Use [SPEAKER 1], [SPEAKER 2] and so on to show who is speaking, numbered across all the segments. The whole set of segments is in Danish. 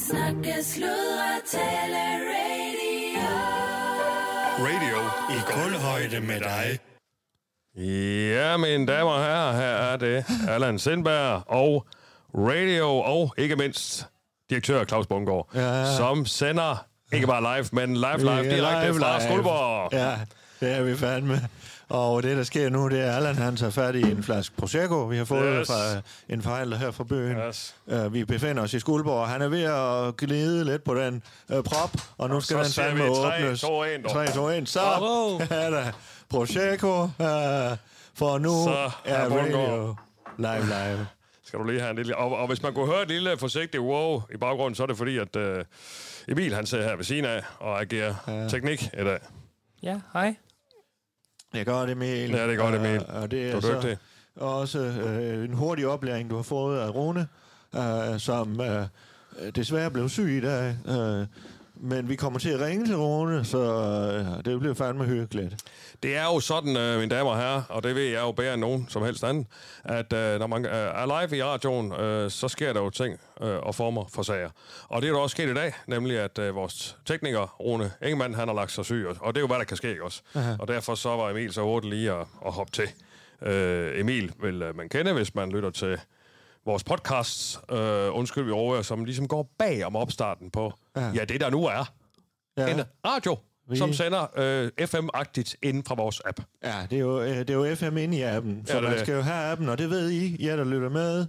[SPEAKER 1] Snakke, sludre, tale, radio.
[SPEAKER 2] Radio i kulhøjde med dig.
[SPEAKER 3] Ja, mine damer og herrer, her er det Allan Sindberg og radio og ikke mindst direktør Claus Bungård,
[SPEAKER 4] Ja.
[SPEAKER 3] som sender ikke bare live, men live live
[SPEAKER 4] Ja,
[SPEAKER 3] direkte
[SPEAKER 4] live,
[SPEAKER 3] fra
[SPEAKER 4] live.
[SPEAKER 3] Skuldborg.
[SPEAKER 4] Ja, det er vi fandme. Og det, der sker nu, det er, Allan han tager fat i en flaske Prosecco, vi har fået
[SPEAKER 3] Yes.
[SPEAKER 4] yes. fra øh, en forhandler her fra byen.
[SPEAKER 3] Yes.
[SPEAKER 4] Uh, vi befinder os i Skuldborg, og han er ved at glide lidt på den uh, prop, og nu
[SPEAKER 3] Og
[SPEAKER 4] skal
[SPEAKER 3] så
[SPEAKER 4] den
[SPEAKER 3] siger
[SPEAKER 4] fandme
[SPEAKER 3] vi tre,
[SPEAKER 4] åbnes.
[SPEAKER 3] to, en, dog.
[SPEAKER 4] 3, 2, 1, så
[SPEAKER 3] Bravo.
[SPEAKER 4] er der Prosecco, uh, for nu
[SPEAKER 3] Så
[SPEAKER 4] er
[SPEAKER 3] er Bundgaard.
[SPEAKER 4] radio live live.
[SPEAKER 3] Skal du lige have en lille... Og, og hvis man kunne høre et lille forsigtigt wow i baggrunden, så er det fordi, at øh, Emil han sidder her ved siden af og agerer ja. teknik i dag.
[SPEAKER 5] Ja, hej.
[SPEAKER 4] Det er godt, Emil.
[SPEAKER 3] Ja, det er godt, Emil.
[SPEAKER 4] Og, og det er,
[SPEAKER 3] Du er
[SPEAKER 4] så
[SPEAKER 3] dygtig.
[SPEAKER 4] også øh, en hurtig oplæring, du har fået af Rune, øh, som øh, desværre blev syg i dag. Øh, men vi kommer til at ringe til Rune, så øh, det bliver fandme hyggeligt.
[SPEAKER 3] Det er jo sådan, øh, mine damer og herrer, og det ved jeg jo bedre end nogen som helst anden, at øh, når man øh, er live i radioen, øh, så sker der jo ting øh, og former for sager. Og det er jo også sket i dag, nemlig at øh, vores tekniker, Rune Ingemann, han har lagt sig syg, og, og det er jo, hvad der kan ske ikke også. Aha. Og derfor så var Emil så hurtigt lige at, at hoppe til. Øh, Emil vil øh, man kende, hvis man lytter til vores podcast, øh, Undskyld, vi overhører, som ligesom går bag om opstarten på, ja, ja det der nu er, ja. en radio, vi... som sender øh, FM-agtigt inden fra vores app.
[SPEAKER 4] Ja, det er jo, øh, det er jo FM inde i appen, så
[SPEAKER 3] Ja, det er
[SPEAKER 4] man
[SPEAKER 3] det.
[SPEAKER 4] skal jo have appen, og det ved I, jer der lytter med,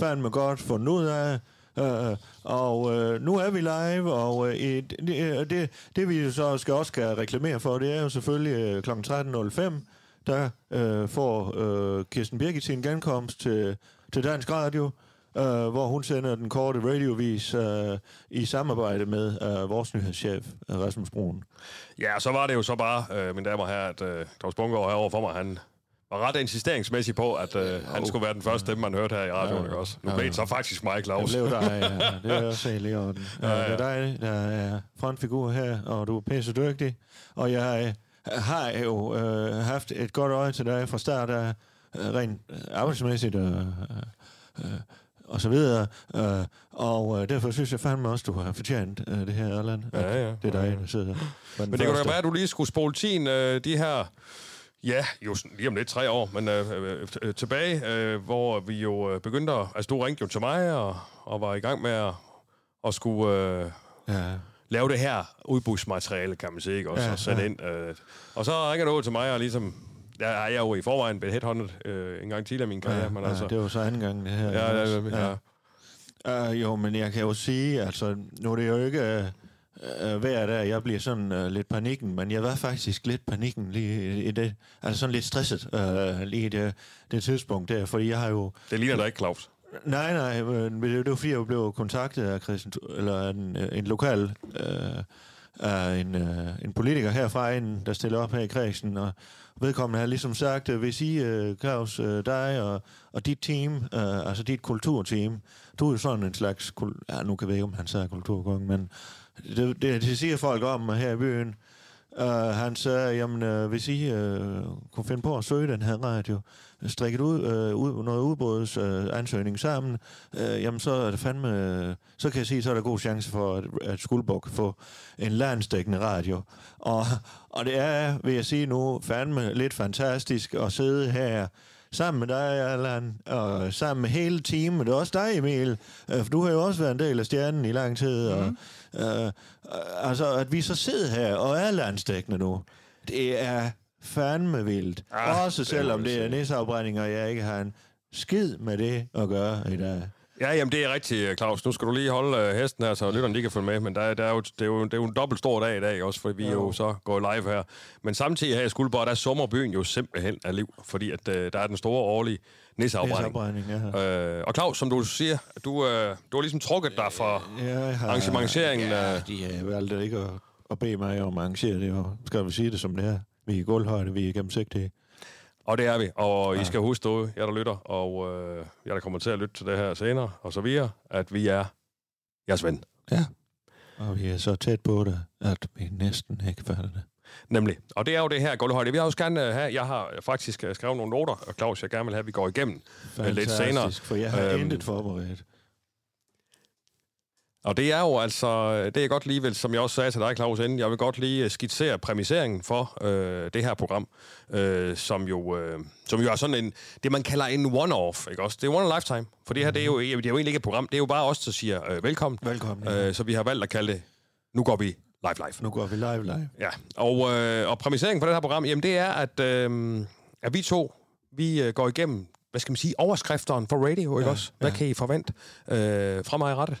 [SPEAKER 4] fandme godt fundet ud af. Øh, og øh, nu er vi live, og øh, i- det, øh, det, det vi jo så skal også skal reklamere for, det er jo selvfølgelig øh, kl. 13.05, der øh, får øh, Kirsten Birgit sin genkomst til, til Dansk Radio, øh, hvor hun sender den korte radiovis øh, i samarbejde med øh, vores nyhedschef, øh, Rasmus Brun.
[SPEAKER 3] Ja, og så var det jo så bare, øh, mine damer her, at øh, Claus Bunker herovre for mig, han var ret insisteringsmæssig på, at øh, han skulle være den første stemme, man hørte her i radioen, ikke også? Nu blev det så faktisk mig,
[SPEAKER 4] Det
[SPEAKER 3] Claus.
[SPEAKER 4] blev dig, ja. Det er også helt i orden. Ja,
[SPEAKER 3] Ja, ja.
[SPEAKER 4] ja. Det er dig, der er frontfigur her, og du er pisse dygtig. Og jeg har jo øh, haft et godt øje til dig fra start af, øh, rent arbejdsmæssigt og, øh, øh, og så videre. Øh, og øh, derfor synes jeg fandme også, du har fortjent øh, det her, Erland. at
[SPEAKER 3] Ja, ja.
[SPEAKER 4] Det er dig, der sidder.
[SPEAKER 3] Men det kunne da være, at du lige skulle spole tiden øh, de her... Ja, jo sådan lige om lidt tre år, men øh, øh, t- øh, tilbage, øh, hvor vi jo øh, begyndte at... Altså, du ringte jo til mig og, og var i gang med at, at skulle... Øh,
[SPEAKER 4] Ja.
[SPEAKER 3] lave det her udbudsmateriale, kan man sige, ikke? Også, ja,
[SPEAKER 4] Ja,
[SPEAKER 3] og sende
[SPEAKER 4] ja.
[SPEAKER 3] ind. Øh, og så ringer du ud til mig, og ligesom... Ja, jeg er jo i forvejen blevet headhunted øh, en gang tidligere i min karriere,
[SPEAKER 4] Ja,
[SPEAKER 3] men
[SPEAKER 4] ja,
[SPEAKER 3] altså...
[SPEAKER 4] det var så anden gang, det her.
[SPEAKER 3] ja, ja, ja, ja, ja.
[SPEAKER 4] Uh, jo, men jeg kan jo sige, altså, nu er det jo ikke uh, uh, hver dag, jeg bliver sådan uh, lidt panikken, men jeg var faktisk lidt panikken lige i, i det, altså sådan lidt stresset uh, lige i det, det tidspunkt der, fordi jeg har jo,
[SPEAKER 3] Det ligner da ikke, Claus.
[SPEAKER 4] nej, nej, øh, men det, det var fordi, jeg blev kontaktet af Christian, Tu- eller en, øh, en lokal, uh, af en, uh, en politiker herfra, en, der stiller op her i kredsen, og vedkommende har ligesom sagt, øh, hvis I, uh, Claus, uh, dig og, og dit team, uh, altså dit kulturteam, du er jo sådan en slags... Kul- ja, nu kan jeg ikke, om han sagde kulturkonge, men det, det, det siger folk om her i byen. Uh, han sagde, jamen, uh, hvis I uh, kunne finde på at søge den her radio, strikket ud, uh, ud noget udbruds uh, ansøgning sammen, uh, jamen, så er det fandme... Uh, så kan jeg sige, så er der god chance for, at, at Skuldborg kan få en landsdækkende radio. Og, og det er, vil jeg sige nu, fandme lidt fantastisk at sidde her sammen med dig, Allan, og sammen med hele teamet, og også dig, Emil, øh, for du har jo også været en del af stjernen i lang tid, og,
[SPEAKER 3] Mhm.
[SPEAKER 4] øh, øh, altså, at vi så sidder her og er landsdækkende nu, det er fandme vildt.
[SPEAKER 3] Ah,
[SPEAKER 4] Ah, også
[SPEAKER 3] det
[SPEAKER 4] selvom
[SPEAKER 3] må vi
[SPEAKER 4] det er
[SPEAKER 3] sige.
[SPEAKER 4] næseafbrænding, og jeg ikke har en skid med det at gøre i dag.
[SPEAKER 3] Ja, jamen det er rigtigt, øh, Claus. Nu skal du lige holde øh, hesten her, så lytterne lige kan følge med. Men der, er- der er jo, det, er jo, det er jo en dobbelt stor dag i dag også, for vi er jo så går live her. Men samtidig her i Skuldborg, der summer byen jo simpelthen af liv, fordi at, øh, der er den store årlige nisseafbrænding.
[SPEAKER 4] Nisseafbrænding, ja.
[SPEAKER 3] Øh, og Claus, som du siger, du, øh, du har ligesom trukket dig fra
[SPEAKER 4] Øh,
[SPEAKER 3] øh.
[SPEAKER 4] Jeg har,
[SPEAKER 3] arrangementeringen.
[SPEAKER 4] Ja,
[SPEAKER 3] Ja.
[SPEAKER 4] de har valgt ikke at, at bede mig om at arrangere det, og skal vi sige det som det er. Vi er i gulvhøjde, vi er gennemsigtige.
[SPEAKER 3] Og det er vi. Og I skal huske, du, jeg der lytter, og øh, jeg der kommer til at lytte til det her senere, og så videre, at vi er jeres ven.
[SPEAKER 4] Ja. Og vi er så tæt på det, at vi næsten ikke falder det.
[SPEAKER 3] Nemlig. Og det er jo det her gulvhøjde. Vi har også gerne øh, have, jeg har faktisk øh, skrevet nogle noter, og Claus, jeg gerne vil have, at vi går igennem øh, lidt senere.
[SPEAKER 4] for jeg har
[SPEAKER 3] Øhm,
[SPEAKER 4] øhm, intet forberedt.
[SPEAKER 3] Og det er jo altså, det jeg godt lige vil, som jeg også sagde til dig, Claus, inden, jeg vil godt lige øh, skitsere præmisseringen for øh, det her program, øh, som, jo, øh, som jo er sådan en, det man kalder en one-off, ikke også? Det er one a lifetime, for det her, det er jo, det er jo egentlig ikke et program, det er jo bare os, der siger øh, velkommen.
[SPEAKER 4] Mhm. Velkommen, ja.
[SPEAKER 3] Øh, så vi har valgt at kalde det, nu går vi live live.
[SPEAKER 4] Nu går vi live, live.
[SPEAKER 3] Ja, og, øh, og præmisseringen for det her program, jamen det er, at, øh, at vi to, vi øh, går igennem, hvad skal man sige, overskrifteren for radio, ikke
[SPEAKER 4] Ja,
[SPEAKER 3] også? Hvad
[SPEAKER 4] ja.
[SPEAKER 3] kan I forvente øh, fra mig i rettet?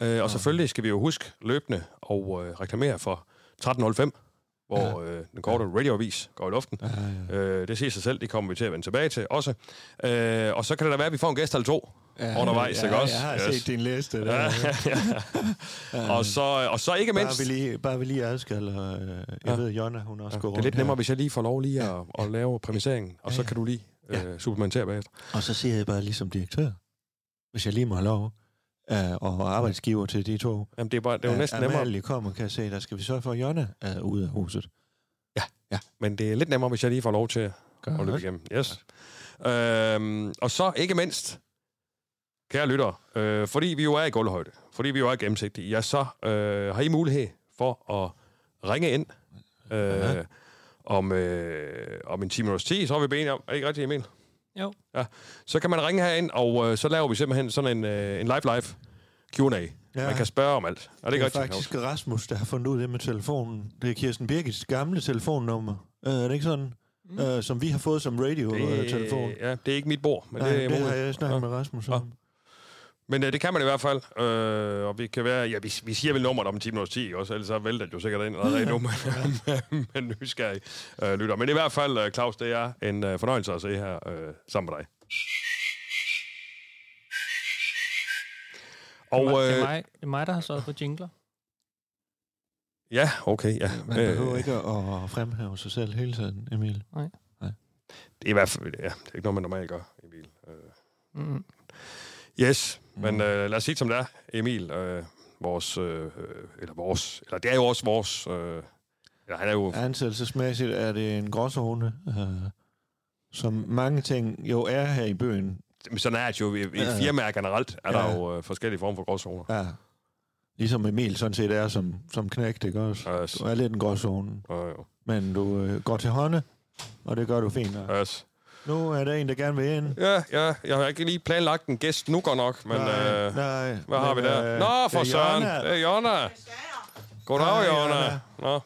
[SPEAKER 3] Ja. Øh, og selvfølgelig skal vi jo huske løbende og øh, reklamere for 13.05, hvor øh, den korte radioavis går i luften. Ja, ja. Øh, det siger sig selv, det kommer vi til at vende tilbage til også. Øh, og så kan det da være, at vi får en gæst eller to ja, undervejs, ikke også?
[SPEAKER 4] Jeg har yes. set din liste. Der.
[SPEAKER 3] Ja, ja. og, så, og så ikke mindst...
[SPEAKER 4] Bare vi lige, bare vi lige adskiller. Øh, jeg ja. ved, Jonna, hun også ja. går
[SPEAKER 3] Det er
[SPEAKER 4] rundt
[SPEAKER 3] lidt
[SPEAKER 4] her.
[SPEAKER 3] nemmere, hvis jeg lige får lov lige at, at lave præmisseringen, og så kan du lige øh, supplementere bagefter.
[SPEAKER 4] Og så siger jeg bare lige som direktør, hvis jeg lige må have lov, øh, og arbejdsgiver til de to.
[SPEAKER 3] Jamen, det er, bare, det er jo
[SPEAKER 4] at
[SPEAKER 3] næsten nemmere,
[SPEAKER 4] Amalie kommer, kan jeg se, der skal vi sørge for, at Jonna er ude af huset.
[SPEAKER 3] men det er lidt nemmere, hvis jeg lige får lov til at at løbe igennem. Yes. Øhm, og så ikke mindst, kære lyttere, øh, fordi vi jo er i gulvhøjde, fordi vi jo er gennemsigtige, ja, så øh, har I mulighed for at ringe ind øh,
[SPEAKER 4] Ja.
[SPEAKER 3] om, øh, om en 10 minutters tid, så har vi benet om, er det ikke rigtigt, Emil?
[SPEAKER 5] Jo.
[SPEAKER 3] Ja. Så kan man ringe herind, og øh, så laver vi simpelthen sådan en, øh, en live-live Q&A. Ja. Man kan spørge om alt. Er det
[SPEAKER 4] det
[SPEAKER 3] ikke
[SPEAKER 4] er
[SPEAKER 3] rigtigt?
[SPEAKER 4] faktisk Rasmus, der har fundet ud af det med telefonen. Det er Kirsten Birgits gamle telefonnummer. Øh, er det ikke sådan? Mm. Øh, som vi har fået som radio-telefon.
[SPEAKER 3] Det, ja, det er ikke mit bord, men
[SPEAKER 4] Nej,
[SPEAKER 3] det, er
[SPEAKER 4] det, det har
[SPEAKER 3] muligt.
[SPEAKER 4] jeg snakket med Rasmus om.
[SPEAKER 3] Men øh, det kan man i hvert fald, øh, og vi kan være, ja, vi, vi siger vel nummeret om 10 minutter 10, ikke også, ellers så vælter det jo sikkert ind allerede nu, men, men, men nysgerrig øh, lytter. Men i hvert fald, øh, Claus, det er en øh, fornøjelse at se her øh, sammen med dig.
[SPEAKER 5] Og,
[SPEAKER 3] Og
[SPEAKER 5] det, er
[SPEAKER 3] øh,
[SPEAKER 5] mig, det er mig, der har sørget for jingler.
[SPEAKER 3] ja, okay, ja.
[SPEAKER 4] Man
[SPEAKER 3] Øh,
[SPEAKER 4] behøver ikke at at fremhæve sig selv hele tiden, Emil.
[SPEAKER 3] Det er i hvert fald, ja, det er ikke noget, man normalt gør, Emil. Øh,
[SPEAKER 5] Mm.
[SPEAKER 3] Yes, men øh, lad os sige det, som det er, Emil. Øh, vores, øh, øh, eller vores, eller det er jo også vores, øh, eller han er jo,
[SPEAKER 4] Ansættelsesmæssigt er det en gråzone, øh, som mange ting jo er her i byen.
[SPEAKER 3] ja. sådan er det jo, i, i
[SPEAKER 4] Ja.
[SPEAKER 3] firmaer generelt er der
[SPEAKER 4] Ja.
[SPEAKER 3] jo øh, forskellige former for gråzoner.
[SPEAKER 4] Ja. Ligesom Emil sådan set er som, som knægt, ikke også?
[SPEAKER 3] Ja. Yes.
[SPEAKER 4] Du er lidt en gråzone,
[SPEAKER 3] Jo, jo.
[SPEAKER 4] men du øh, går til hånde, og det gør du fint. nok.
[SPEAKER 3] Yes.
[SPEAKER 4] Nu er der en, der gerne vil ind.
[SPEAKER 3] Ja, ja, jeg har ikke lige planlagt en gæst nu godt nok, men øh,
[SPEAKER 4] nej.
[SPEAKER 3] hvad har vi
[SPEAKER 4] men,
[SPEAKER 3] der?
[SPEAKER 4] øh,
[SPEAKER 3] Nå, for
[SPEAKER 4] det er
[SPEAKER 3] Søren,
[SPEAKER 4] Jonna.
[SPEAKER 3] det er Jonna. Goddag,
[SPEAKER 4] Hej,
[SPEAKER 3] Jonna.
[SPEAKER 4] Jonna.
[SPEAKER 3] Nå,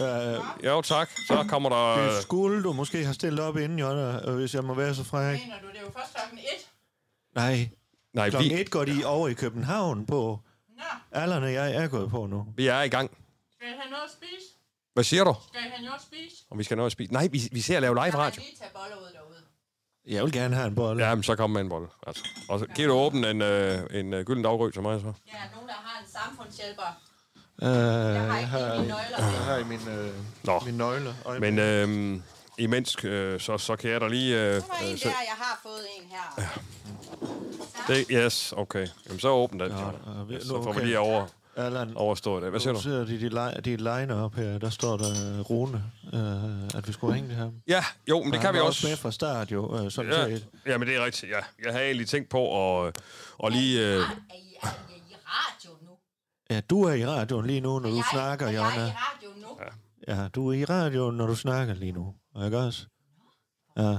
[SPEAKER 4] Øh,
[SPEAKER 3] jo tak, så kommer der...
[SPEAKER 4] det skulle du måske have stillet op inden, Jonna, øh, hvis jeg må være så fræk.
[SPEAKER 6] Mener du, det er jo først klokken 1?
[SPEAKER 4] Nej,
[SPEAKER 3] Nej,
[SPEAKER 4] klokken
[SPEAKER 3] vi,
[SPEAKER 4] et går de over i København på.
[SPEAKER 6] Nå,
[SPEAKER 4] Allerne, jeg er gået på nu.
[SPEAKER 3] vi er i gang.
[SPEAKER 6] skal I have noget at spise?
[SPEAKER 3] Hvad siger du?
[SPEAKER 6] Skal I have noget at spise?
[SPEAKER 3] Om vi skal nå at spise? Nej, vi, vi ser at lave live radio.
[SPEAKER 6] Jeg kan lige tage boller ud derude.
[SPEAKER 4] Jeg vil gerne have en bolle.
[SPEAKER 3] Ja, men så kom med en bold. Altså. Og så giver du åbent en, øh, en øh, gylden dagrøg til mig, så.
[SPEAKER 6] Der er nogen, der har en samfundshjælper.
[SPEAKER 4] Øh,
[SPEAKER 6] Jeg har ikke lige mine nøgler.
[SPEAKER 4] Jeg har i min, øh,
[SPEAKER 3] Nå,
[SPEAKER 4] min nøgle. Og
[SPEAKER 3] men øh, imens, øh, så, så kan jeg da lige... Øh,
[SPEAKER 6] Nu var en
[SPEAKER 3] øh, så,
[SPEAKER 6] der, jeg har fået en her.
[SPEAKER 3] det, yes, okay. Jamen, så åbn den. Ja,
[SPEAKER 4] og vi-
[SPEAKER 3] så
[SPEAKER 4] nu,
[SPEAKER 3] får vi
[SPEAKER 4] okay.
[SPEAKER 3] lige over,
[SPEAKER 4] Allan,
[SPEAKER 3] overstået det. Hvad siger
[SPEAKER 4] nu
[SPEAKER 3] du?
[SPEAKER 4] sidder de, de, li- de liner op her. Der står der øh, Rune, øh, at vi skulle ringe til ham.
[SPEAKER 3] Ja, jo, men det
[SPEAKER 4] Og
[SPEAKER 3] kan
[SPEAKER 4] han
[SPEAKER 3] vi
[SPEAKER 4] var
[SPEAKER 3] også.
[SPEAKER 4] med fra start jo, øh, sådan
[SPEAKER 3] Ja,
[SPEAKER 4] set.
[SPEAKER 3] ja, men det er rigtigt, ja. Jeg havde egentlig tænkt på at, at lige... Øh,
[SPEAKER 6] Er I, er I i radio nu?
[SPEAKER 4] Ja, du er i radioen lige nu, når du
[SPEAKER 6] jeg,
[SPEAKER 4] snakker,
[SPEAKER 6] er Jeg i
[SPEAKER 4] Jonna.
[SPEAKER 6] radio nu. Ja.
[SPEAKER 4] Ja, du er i radioen, når du snakker lige nu. Ikke også? Ja,
[SPEAKER 3] yes.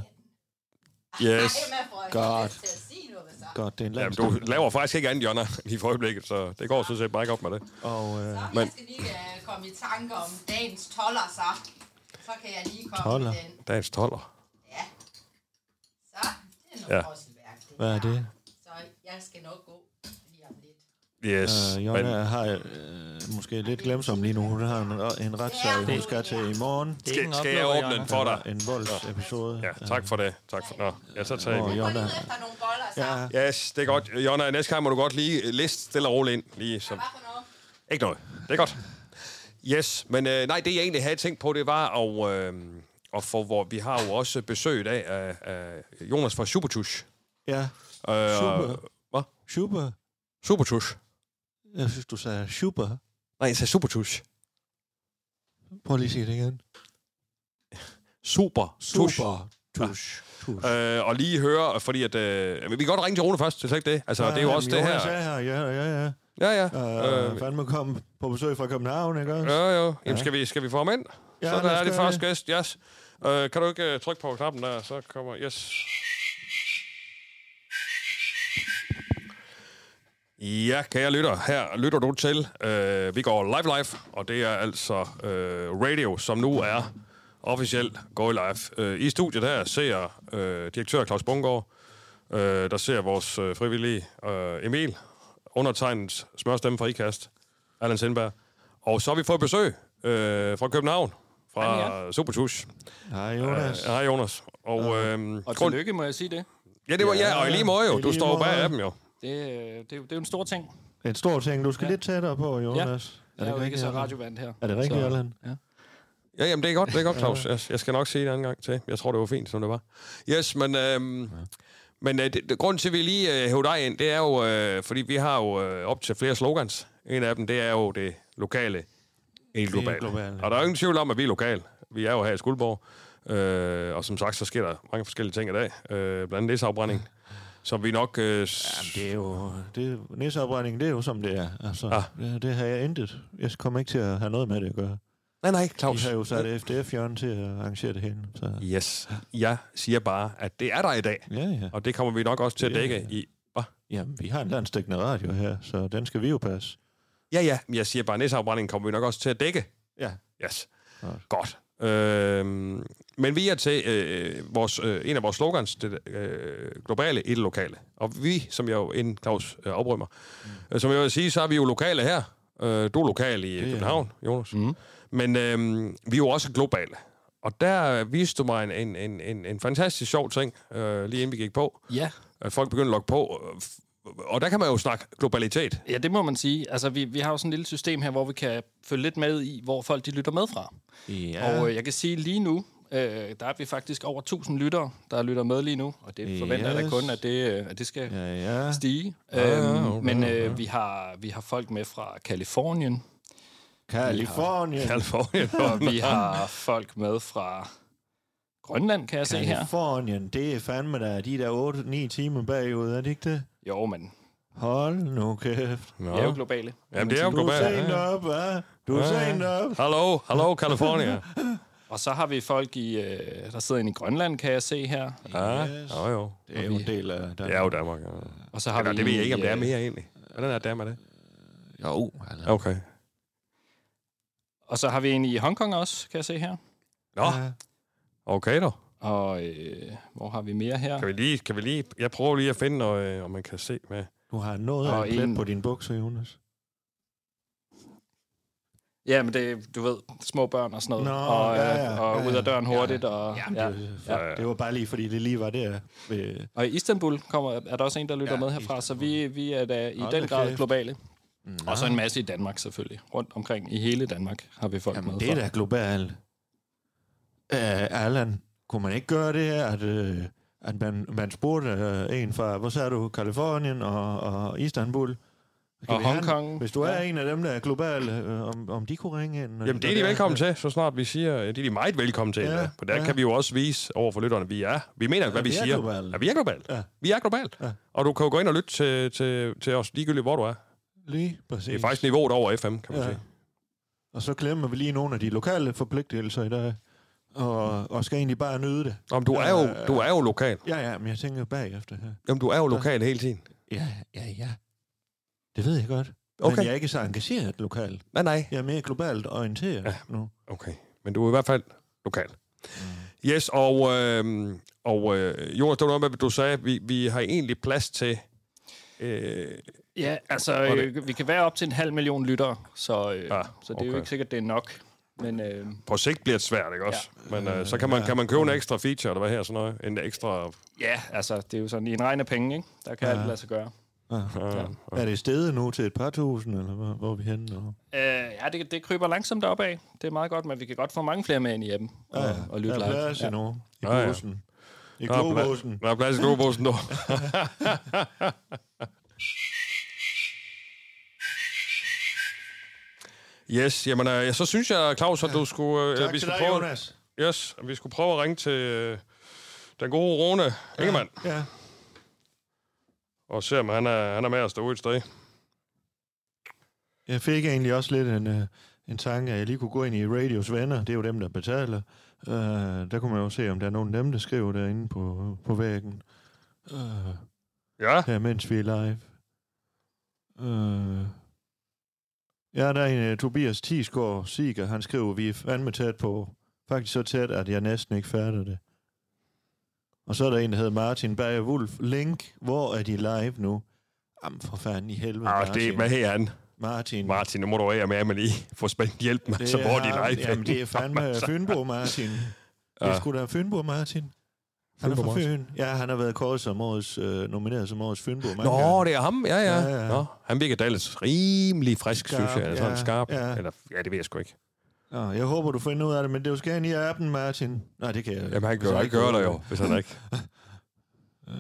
[SPEAKER 6] Emma får ikke
[SPEAKER 4] Godt.
[SPEAKER 6] lyst til at sige noget, så.
[SPEAKER 4] godt, det er en
[SPEAKER 3] Jamen,
[SPEAKER 4] landsdel.
[SPEAKER 3] du laver faktisk ikke andet, Jonna, lige for øjeblikket, så det går sådan set bare ikke op med det.
[SPEAKER 4] Og øh,
[SPEAKER 6] Nå,
[SPEAKER 3] Men-
[SPEAKER 6] jeg skal lige øh, komme i tanke om dagens toller, så. Så kan jeg lige komme
[SPEAKER 4] Toller?
[SPEAKER 6] med den.
[SPEAKER 3] Dagens toller.
[SPEAKER 6] Ja. Så, det er noget
[SPEAKER 3] Ja.
[SPEAKER 6] ja. drosselværk. Det
[SPEAKER 4] hvad er
[SPEAKER 6] her.
[SPEAKER 4] det?
[SPEAKER 6] Så jeg skal nok gå lige om lidt.
[SPEAKER 3] Yes.
[SPEAKER 4] Øh,
[SPEAKER 3] men,
[SPEAKER 4] Jonna har øh, måske lidt glemsom lige nu. Hun har en, en retssag, hun skal til i morgen.
[SPEAKER 5] Det er ikke
[SPEAKER 3] skal,
[SPEAKER 5] en
[SPEAKER 3] skal jeg
[SPEAKER 5] oplukker,
[SPEAKER 3] åbne den
[SPEAKER 5] Jonna.
[SPEAKER 3] for dig?
[SPEAKER 4] En voldsepisode.
[SPEAKER 3] Ja, tak for det. Tak for, nå, ja, så tager jeg
[SPEAKER 4] Åh,
[SPEAKER 3] min.
[SPEAKER 6] Gå
[SPEAKER 4] Jonna.
[SPEAKER 6] ned efter nogle boller, så. Ja.
[SPEAKER 4] Ja,
[SPEAKER 3] Yes, det er godt. Jonna, næste gang må du godt lige liste stille og roligt ind. Lige så.
[SPEAKER 6] Hvad for noget?
[SPEAKER 3] Ikke noget. Det er godt. Yes, men øh, nej, det jeg egentlig havde tænkt på, det var at, øh, at få, hvor vi har jo også besøg i dag af, af Jonas fra Supertush.
[SPEAKER 4] ja.
[SPEAKER 3] Øh,
[SPEAKER 4] Super.
[SPEAKER 3] Hvad?
[SPEAKER 4] Super.
[SPEAKER 3] Supertush.
[SPEAKER 4] Jeg synes, du sagde super.
[SPEAKER 3] Nej, jeg sagde Supertush.
[SPEAKER 4] Prøv lige at sige det igen.
[SPEAKER 3] Super.
[SPEAKER 4] Super. Tush. Tush.
[SPEAKER 3] Øh, og lige høre, fordi at... Øh, men vi kan godt ringe til Rune først, det er slet ikke det. Altså, det er jo også det
[SPEAKER 4] Jeg
[SPEAKER 3] her.
[SPEAKER 4] sagde her, ja, ja, ja.
[SPEAKER 3] Ja, ja.
[SPEAKER 4] Øh,
[SPEAKER 3] Øh,
[SPEAKER 4] øh, fandme kom på besøg fra København, ikke også?
[SPEAKER 3] Jo, jo. Jamen, skal vi, skal vi få ham ind? Ja,
[SPEAKER 4] Ja,
[SPEAKER 3] så der
[SPEAKER 4] lad os
[SPEAKER 3] er det
[SPEAKER 4] gøre
[SPEAKER 3] første gæst, yes. Øh, kan du ikke uh, trykke på knappen der, så kommer... Yes. Ja, kære lytter, her lytter du til. Øh, vi går live live, og det er altså øh, radio, som nu er officielt går live. Øh, I studiet her ser øh, direktør Claus Bungård, øh, der ser vores øh, frivillige øh, Emil, undertegnet smørstemme fra IKAST, Allan Sindberg. Og så har vi fået besøg øh, fra København, fra ja. Supertus.
[SPEAKER 4] Hej, Jonas.
[SPEAKER 3] Hej Jonas. Og, øh,
[SPEAKER 7] Og tillykke, må jeg sige det.
[SPEAKER 3] Ja, det var ja, og i lige måde jo.
[SPEAKER 4] i
[SPEAKER 3] Du
[SPEAKER 4] lige
[SPEAKER 3] står jo bag
[SPEAKER 4] måde.
[SPEAKER 3] af dem jo.
[SPEAKER 7] Det, øh, det, er jo- det er jo en stor ting.
[SPEAKER 4] En stor ting, du skal ja. lidt tættere på, Jonas.
[SPEAKER 7] Jeg er jo ikke
[SPEAKER 4] rigtigt,
[SPEAKER 7] så
[SPEAKER 4] Allan?
[SPEAKER 7] radiovand her.
[SPEAKER 4] Er det rigtigt,
[SPEAKER 7] Så-
[SPEAKER 4] Allan?
[SPEAKER 7] Ja.
[SPEAKER 3] Ja, jamen det er godt, det er godt, Claus. Jeg, jeg skal nok sige det en anden gang til. Jeg tror, det var fint, som det var. Yes, men, øhm, ja. men øh, det, det, grunden til, at vi lige øh, hæver dig ind, det er jo, øh, fordi vi har jo øh, op til flere slogans. En af dem, det er jo det lokale, ikke globale.
[SPEAKER 4] globale.
[SPEAKER 3] globale. Og der er jo ingen tvivl om, at vi er lokale. Vi er jo her i Skuldborg. Øh, og som sagt, så sker der mange forskellige ting i dag. Øh, blandt andet læsafbrænding, som vi nok... Øh, s-
[SPEAKER 4] Jamen, det er jo... Det, næseopbrænding, det er jo som det er. Altså,
[SPEAKER 3] Ah.
[SPEAKER 4] ah. det, det har jeg intet. Jeg kommer ikke til at have noget med det at gøre.
[SPEAKER 3] nej, nej,
[SPEAKER 4] De
[SPEAKER 3] Claus.
[SPEAKER 4] har jo sat FDF-jørgen til at arrangere det hen. Så.
[SPEAKER 3] Yes, jeg siger bare, at det er der i dag.
[SPEAKER 4] Ja, ja.
[SPEAKER 3] Og det kommer vi nok også til at
[SPEAKER 4] Ja,
[SPEAKER 3] dække
[SPEAKER 4] ja.
[SPEAKER 3] i... Hva?
[SPEAKER 4] Jamen, vi har en landstækkende radio her, så den skal vi jo passe.
[SPEAKER 3] Ja, ja. men Jeg siger bare, at næseafbrændingen kommer vi nok også til at dække.
[SPEAKER 4] Ja.
[SPEAKER 3] Yes.
[SPEAKER 4] Godt.
[SPEAKER 3] Godt. Øhm, men vi er til øh, vores, øh, en af vores slogans, det øh, globale i det lokale. Og vi, som jeg jo inden Claus øh, oprømmer, mm. øh, som jeg vil sige, så er vi jo lokale her. Øh, du er lokal i
[SPEAKER 4] er
[SPEAKER 3] det, København, Jonas. Mm. Men øh, vi er jo også globale. Og der øh, viste du mig en, en, en, en, en fantastisk sjov ting, øh, lige inden vi gik på.
[SPEAKER 7] Ja.
[SPEAKER 3] Øh, folk begyndte at logge på. øh, f- Og der kan man jo snakke globalitet.
[SPEAKER 7] ja, det må man sige. Altså, vi, vi har jo sådan et lille system her, hvor vi kan følge lidt med i, hvor folk de lytter med fra.
[SPEAKER 4] Ja.
[SPEAKER 7] Ja. Og øh, jeg kan sige lige nu, øh, der er vi faktisk over 1000 lyttere, der lytter med lige nu. Og det forventer yes. jeg da
[SPEAKER 4] Yes.
[SPEAKER 7] kun, at det, øh, at det skal ja.
[SPEAKER 4] Ja, ja.
[SPEAKER 7] stige.
[SPEAKER 3] ja,
[SPEAKER 7] øhm,
[SPEAKER 3] okay,
[SPEAKER 7] men øh, vi, har, vi har folk med fra Kalifornien.
[SPEAKER 4] Kalifornien.
[SPEAKER 3] Kalifornien.
[SPEAKER 7] Og vi har folk med fra Grønland, kan jeg se her.
[SPEAKER 4] Kalifornien, det er fandme der de der 8-9 timer bagud, er det ikke det?
[SPEAKER 7] Jo, men
[SPEAKER 4] Hold nu kæft.
[SPEAKER 7] vi er jo globale.
[SPEAKER 3] Jamen, det er jo
[SPEAKER 4] Du er
[SPEAKER 3] globalt.
[SPEAKER 4] sent op, hva'? Du er øh. sent op.
[SPEAKER 3] Hallo, hallo, California.
[SPEAKER 7] Og så har vi folk, i, øh, der sidder inde i Grønland, kan jeg se her.
[SPEAKER 3] Ja,
[SPEAKER 4] Yes.
[SPEAKER 3] jo, jo.
[SPEAKER 4] Det er jo en del af
[SPEAKER 3] Det
[SPEAKER 4] Danmark.
[SPEAKER 3] er jo Danmark. Ja.
[SPEAKER 7] Og så har
[SPEAKER 3] Eller,
[SPEAKER 7] vi
[SPEAKER 3] det ved jeg ikke, om det er
[SPEAKER 7] øh,
[SPEAKER 3] mere egentlig. Hvordan er Danmark det?
[SPEAKER 4] Jo, altså.
[SPEAKER 3] Okay.
[SPEAKER 7] Og så har vi en i Hongkong også, kan jeg se her.
[SPEAKER 3] Nå, okay dog.
[SPEAKER 7] Og øh, hvor har vi mere her?
[SPEAKER 3] Kan vi lige, kan vi lige, jeg prøver lige at finde, noget, øh, om man kan se med.
[SPEAKER 4] Du har noget af
[SPEAKER 7] Og
[SPEAKER 4] en plet
[SPEAKER 7] en-
[SPEAKER 4] på dine bukser, Jonas.
[SPEAKER 7] Ja, men det du ved, små børn og sådan noget.
[SPEAKER 4] Nå,
[SPEAKER 7] og øh,
[SPEAKER 4] ja, ja,
[SPEAKER 7] og
[SPEAKER 4] ja,
[SPEAKER 7] ud af døren
[SPEAKER 4] ja.
[SPEAKER 7] hurtigt. Og,
[SPEAKER 4] Jamen,
[SPEAKER 7] ja.
[SPEAKER 4] det,
[SPEAKER 7] Ja.
[SPEAKER 4] det var bare lige, fordi det lige var der. Ved,
[SPEAKER 7] og i Istanbul kommer, er der også en, der lytter
[SPEAKER 4] Ja,
[SPEAKER 7] ja, med herfra. Så vi, vi er da i
[SPEAKER 4] Hold da
[SPEAKER 7] den grad
[SPEAKER 4] kæft.
[SPEAKER 7] globale. Og så en masse i Danmark selvfølgelig. Rundt omkring i hele Danmark har vi folk
[SPEAKER 4] jamen,
[SPEAKER 7] med
[SPEAKER 4] det
[SPEAKER 7] fra.
[SPEAKER 4] er da globalt. Øh, Allan, kunne man ikke gøre det her, at, øh, at man, man spurgte øh, en fra, hvor sagde du, Kalifornien og, og Istanbul? Kan
[SPEAKER 7] Og
[SPEAKER 4] vi have-
[SPEAKER 7] Hongkong.
[SPEAKER 4] Hvis du er
[SPEAKER 7] Ja.
[SPEAKER 4] en af dem, der er globale, øh, om, om de kunne ringe ind? øh, og-
[SPEAKER 3] Jamen, det er de velkommen til, så snart vi siger, det er de meget velkommen til.
[SPEAKER 4] Ja,
[SPEAKER 3] Ja, for der
[SPEAKER 4] ja.
[SPEAKER 3] kan vi jo også vise over for lytterne, at vi er. Vi mener, hvad
[SPEAKER 4] Ja,
[SPEAKER 3] vi,
[SPEAKER 4] vi er
[SPEAKER 3] siger.
[SPEAKER 4] globale.
[SPEAKER 3] Ja, vi er globalt.
[SPEAKER 4] Ja.
[SPEAKER 3] Vi er globalt. Ja. Og du kan jo gå ind og lytte til, til, til os, ligegyldigt hvor du er.
[SPEAKER 4] Lige præcis.
[SPEAKER 3] Det er faktisk niveauet over FM, kan man
[SPEAKER 4] Ja.
[SPEAKER 3] sige.
[SPEAKER 4] Og så glemmer vi lige nogle af de lokale forpligtelser i dag, og, og skal egentlig bare nyde det.
[SPEAKER 3] Nå, men du er jo, du er jo lokal.
[SPEAKER 4] Ja, ja, men jeg tænker bagefter her.
[SPEAKER 3] Jamen, du er jo lokal hele tiden.
[SPEAKER 4] Ja, ja, ja. Det ved jeg godt. Okay.
[SPEAKER 3] Okay.
[SPEAKER 4] Men jeg er ikke så engageret lokalt.
[SPEAKER 3] Nej, nej.
[SPEAKER 4] Jeg er mere globalt orienteret ja. nu.
[SPEAKER 3] Okay, men du er i hvert fald lokal. Mm. Yes, og, øh, og øh, Jonas, det var noget med, at du sagde, at vi, vi har egentlig plads til... Øh,
[SPEAKER 7] Ja, altså,
[SPEAKER 3] Og det-
[SPEAKER 7] øh, vi kan være op til en halv million lyttere, så, øh,
[SPEAKER 3] Ja,
[SPEAKER 7] ja, så det er
[SPEAKER 3] okay.
[SPEAKER 7] jo ikke sikkert, det er nok. Men øh,
[SPEAKER 3] på sigt bliver det svært, ikke også? Ja. Men øh, så kan man, kan man købe en ekstra feature, eller hvad her, sådan noget? En ekstra...
[SPEAKER 7] ja, altså, det er jo sådan, i en regn af penge, ikke? der kan ja. alt lade sig gøre.
[SPEAKER 3] Øh,
[SPEAKER 4] Er det stedet nu til et par tusind, eller hvor, hvor er vi henne nu?
[SPEAKER 7] Øh, ja, det, det kryber langsomt deropad. Det er meget godt, men vi kan godt få mange flere med ind i appen og, ja, og lytte
[SPEAKER 4] der er plads
[SPEAKER 7] live. Ja.
[SPEAKER 4] endnu. I
[SPEAKER 3] Ja, ja.
[SPEAKER 4] glosen. I
[SPEAKER 3] der, er
[SPEAKER 4] globussen.
[SPEAKER 3] plads, der er plads i globussen, dog. Yes, jamen, øh, så synes jeg, Claus, at du skulle... Øh,
[SPEAKER 4] Tak til dig,
[SPEAKER 3] prøve,
[SPEAKER 4] Jonas.
[SPEAKER 3] Yes, at vi skulle prøve at ringe til øh, den gode Rune Ingemann.
[SPEAKER 4] Ja.
[SPEAKER 3] og se, om han er, han er med os derude et sted.
[SPEAKER 4] Jeg fik egentlig også lidt en, øh, en tanke, at jeg lige kunne gå ind i Radios venner. Det er jo dem, der betaler. Øh, der kunne man jo se, om der er nogen af dem, der skriver derinde på, på væggen. Øh,
[SPEAKER 3] Ja.
[SPEAKER 4] her, mens vi er live. Øh. Ja, der er en uh, Tobias Tisgaard Siger, han skriver, vi er fandme tæt på. Faktisk så tæt, at jeg næsten ikke fatter det. Og så er der en, der hedder Martin Bayer Wolf. Link, hvor er de live nu? Jamen for fanden i helvede,
[SPEAKER 3] Ah,
[SPEAKER 4] Martin.
[SPEAKER 3] det, hvad her han?
[SPEAKER 4] Martin.
[SPEAKER 3] Martin, nu må du af med, at man lige får spændt hjælp med, så hvor er de live.
[SPEAKER 4] Jamen, det er fandme Fynbo Martin. Det er
[SPEAKER 3] Ja.
[SPEAKER 4] sgu da Fynbo Martin. Han er
[SPEAKER 3] Fynbo
[SPEAKER 4] fra
[SPEAKER 3] Martin.
[SPEAKER 4] Fyn. Ja, han har været kåret som årets, øh, nomineret som årets Fynbo mange gange.
[SPEAKER 3] Nå, det er ham, ja, ja.
[SPEAKER 4] Ja,
[SPEAKER 3] ja,
[SPEAKER 4] ja.
[SPEAKER 3] ja. Nå, han virker da ellers rimelig frisk, skarp, synes jeg. Altså, ja, skarp. Ja. Eller, ja, det ved jeg sgu ikke.
[SPEAKER 4] Nå, jeg håber, du finder ud af det, men det er jo skal ind i appen, Martin. Nej, det kan jeg
[SPEAKER 3] Jamen, han
[SPEAKER 4] hvis
[SPEAKER 3] kan jo ikke gøre det jo, hvis han ikke.
[SPEAKER 4] Øh.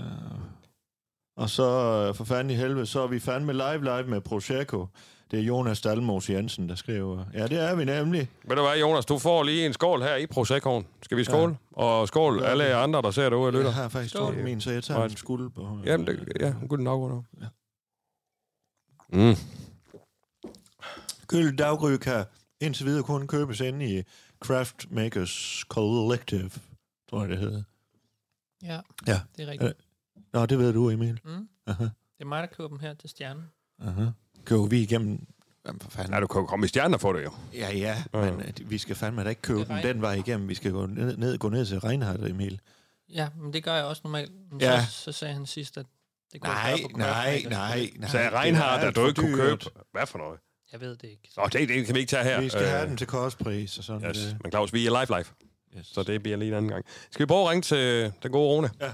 [SPEAKER 4] Og så, øh, for fanden i helvede, så er vi fandme live live med Prosecco. Det er Jonas Dalmos Jensen, der skriver. Ja, det er vi nemlig.
[SPEAKER 3] Ved du hvad, Jonas, du får lige en skål her i Proseccoen. Skal vi skåle? Ja. Og skål
[SPEAKER 4] Ja.
[SPEAKER 3] alle jer andre, der ser derude og lytter.
[SPEAKER 4] Jeg har faktisk
[SPEAKER 5] Skål.
[SPEAKER 4] stået min, så jeg tager
[SPEAKER 3] Og-
[SPEAKER 4] en skuld på.
[SPEAKER 3] Ja, Jamen, det, ja, good nok, good nok. Mm.
[SPEAKER 4] Gyld daggry kan indtil videre kun købes inde i Craft Makers Collective, tror jeg, det hedder.
[SPEAKER 5] Ja,
[SPEAKER 4] Ja. Øh.
[SPEAKER 5] det er rigtigt.
[SPEAKER 4] Nå, det ved du, Emil.
[SPEAKER 5] Mm.
[SPEAKER 4] Aha,
[SPEAKER 5] Det er mig, der køber dem her til stjernen.
[SPEAKER 4] aha. Køber vi igennem... Jamen, for fanden.
[SPEAKER 3] Ja, du kan jo komme i stjerner for det jo.
[SPEAKER 4] Ja, ja,
[SPEAKER 3] Ja.
[SPEAKER 4] men øh, vi skal fandme da ikke købe
[SPEAKER 5] Det
[SPEAKER 4] den
[SPEAKER 5] regner.
[SPEAKER 4] den vej igennem. Vi skal gå ned, ned, gå ned til Reinhardt, Emil.
[SPEAKER 5] Ja, men det gør jeg også normalt. Men
[SPEAKER 4] Ja.
[SPEAKER 5] så, så sagde han sidst, at det kunne
[SPEAKER 4] Nej,
[SPEAKER 5] jeg gøre på Craft
[SPEAKER 4] nej,
[SPEAKER 5] Makers.
[SPEAKER 4] nej, nej.
[SPEAKER 3] Så jeg
[SPEAKER 4] det er
[SPEAKER 3] Reinhardt,
[SPEAKER 4] alt
[SPEAKER 3] at du
[SPEAKER 4] for
[SPEAKER 3] ikke kunne købe...
[SPEAKER 4] dyrt.
[SPEAKER 3] Hvad for noget?
[SPEAKER 5] Jeg ved det ikke.
[SPEAKER 3] Nå, det, det kan vi ikke tage her.
[SPEAKER 4] Vi skal
[SPEAKER 3] Øh,
[SPEAKER 4] have den til kostpris og sådan øh.
[SPEAKER 3] Yes.
[SPEAKER 4] noget.
[SPEAKER 3] Men Claus, vi er live live,
[SPEAKER 4] Yes.
[SPEAKER 3] så det bliver lige en anden gang. Skal vi prøve at ringe til den gode Rune?
[SPEAKER 4] Ja.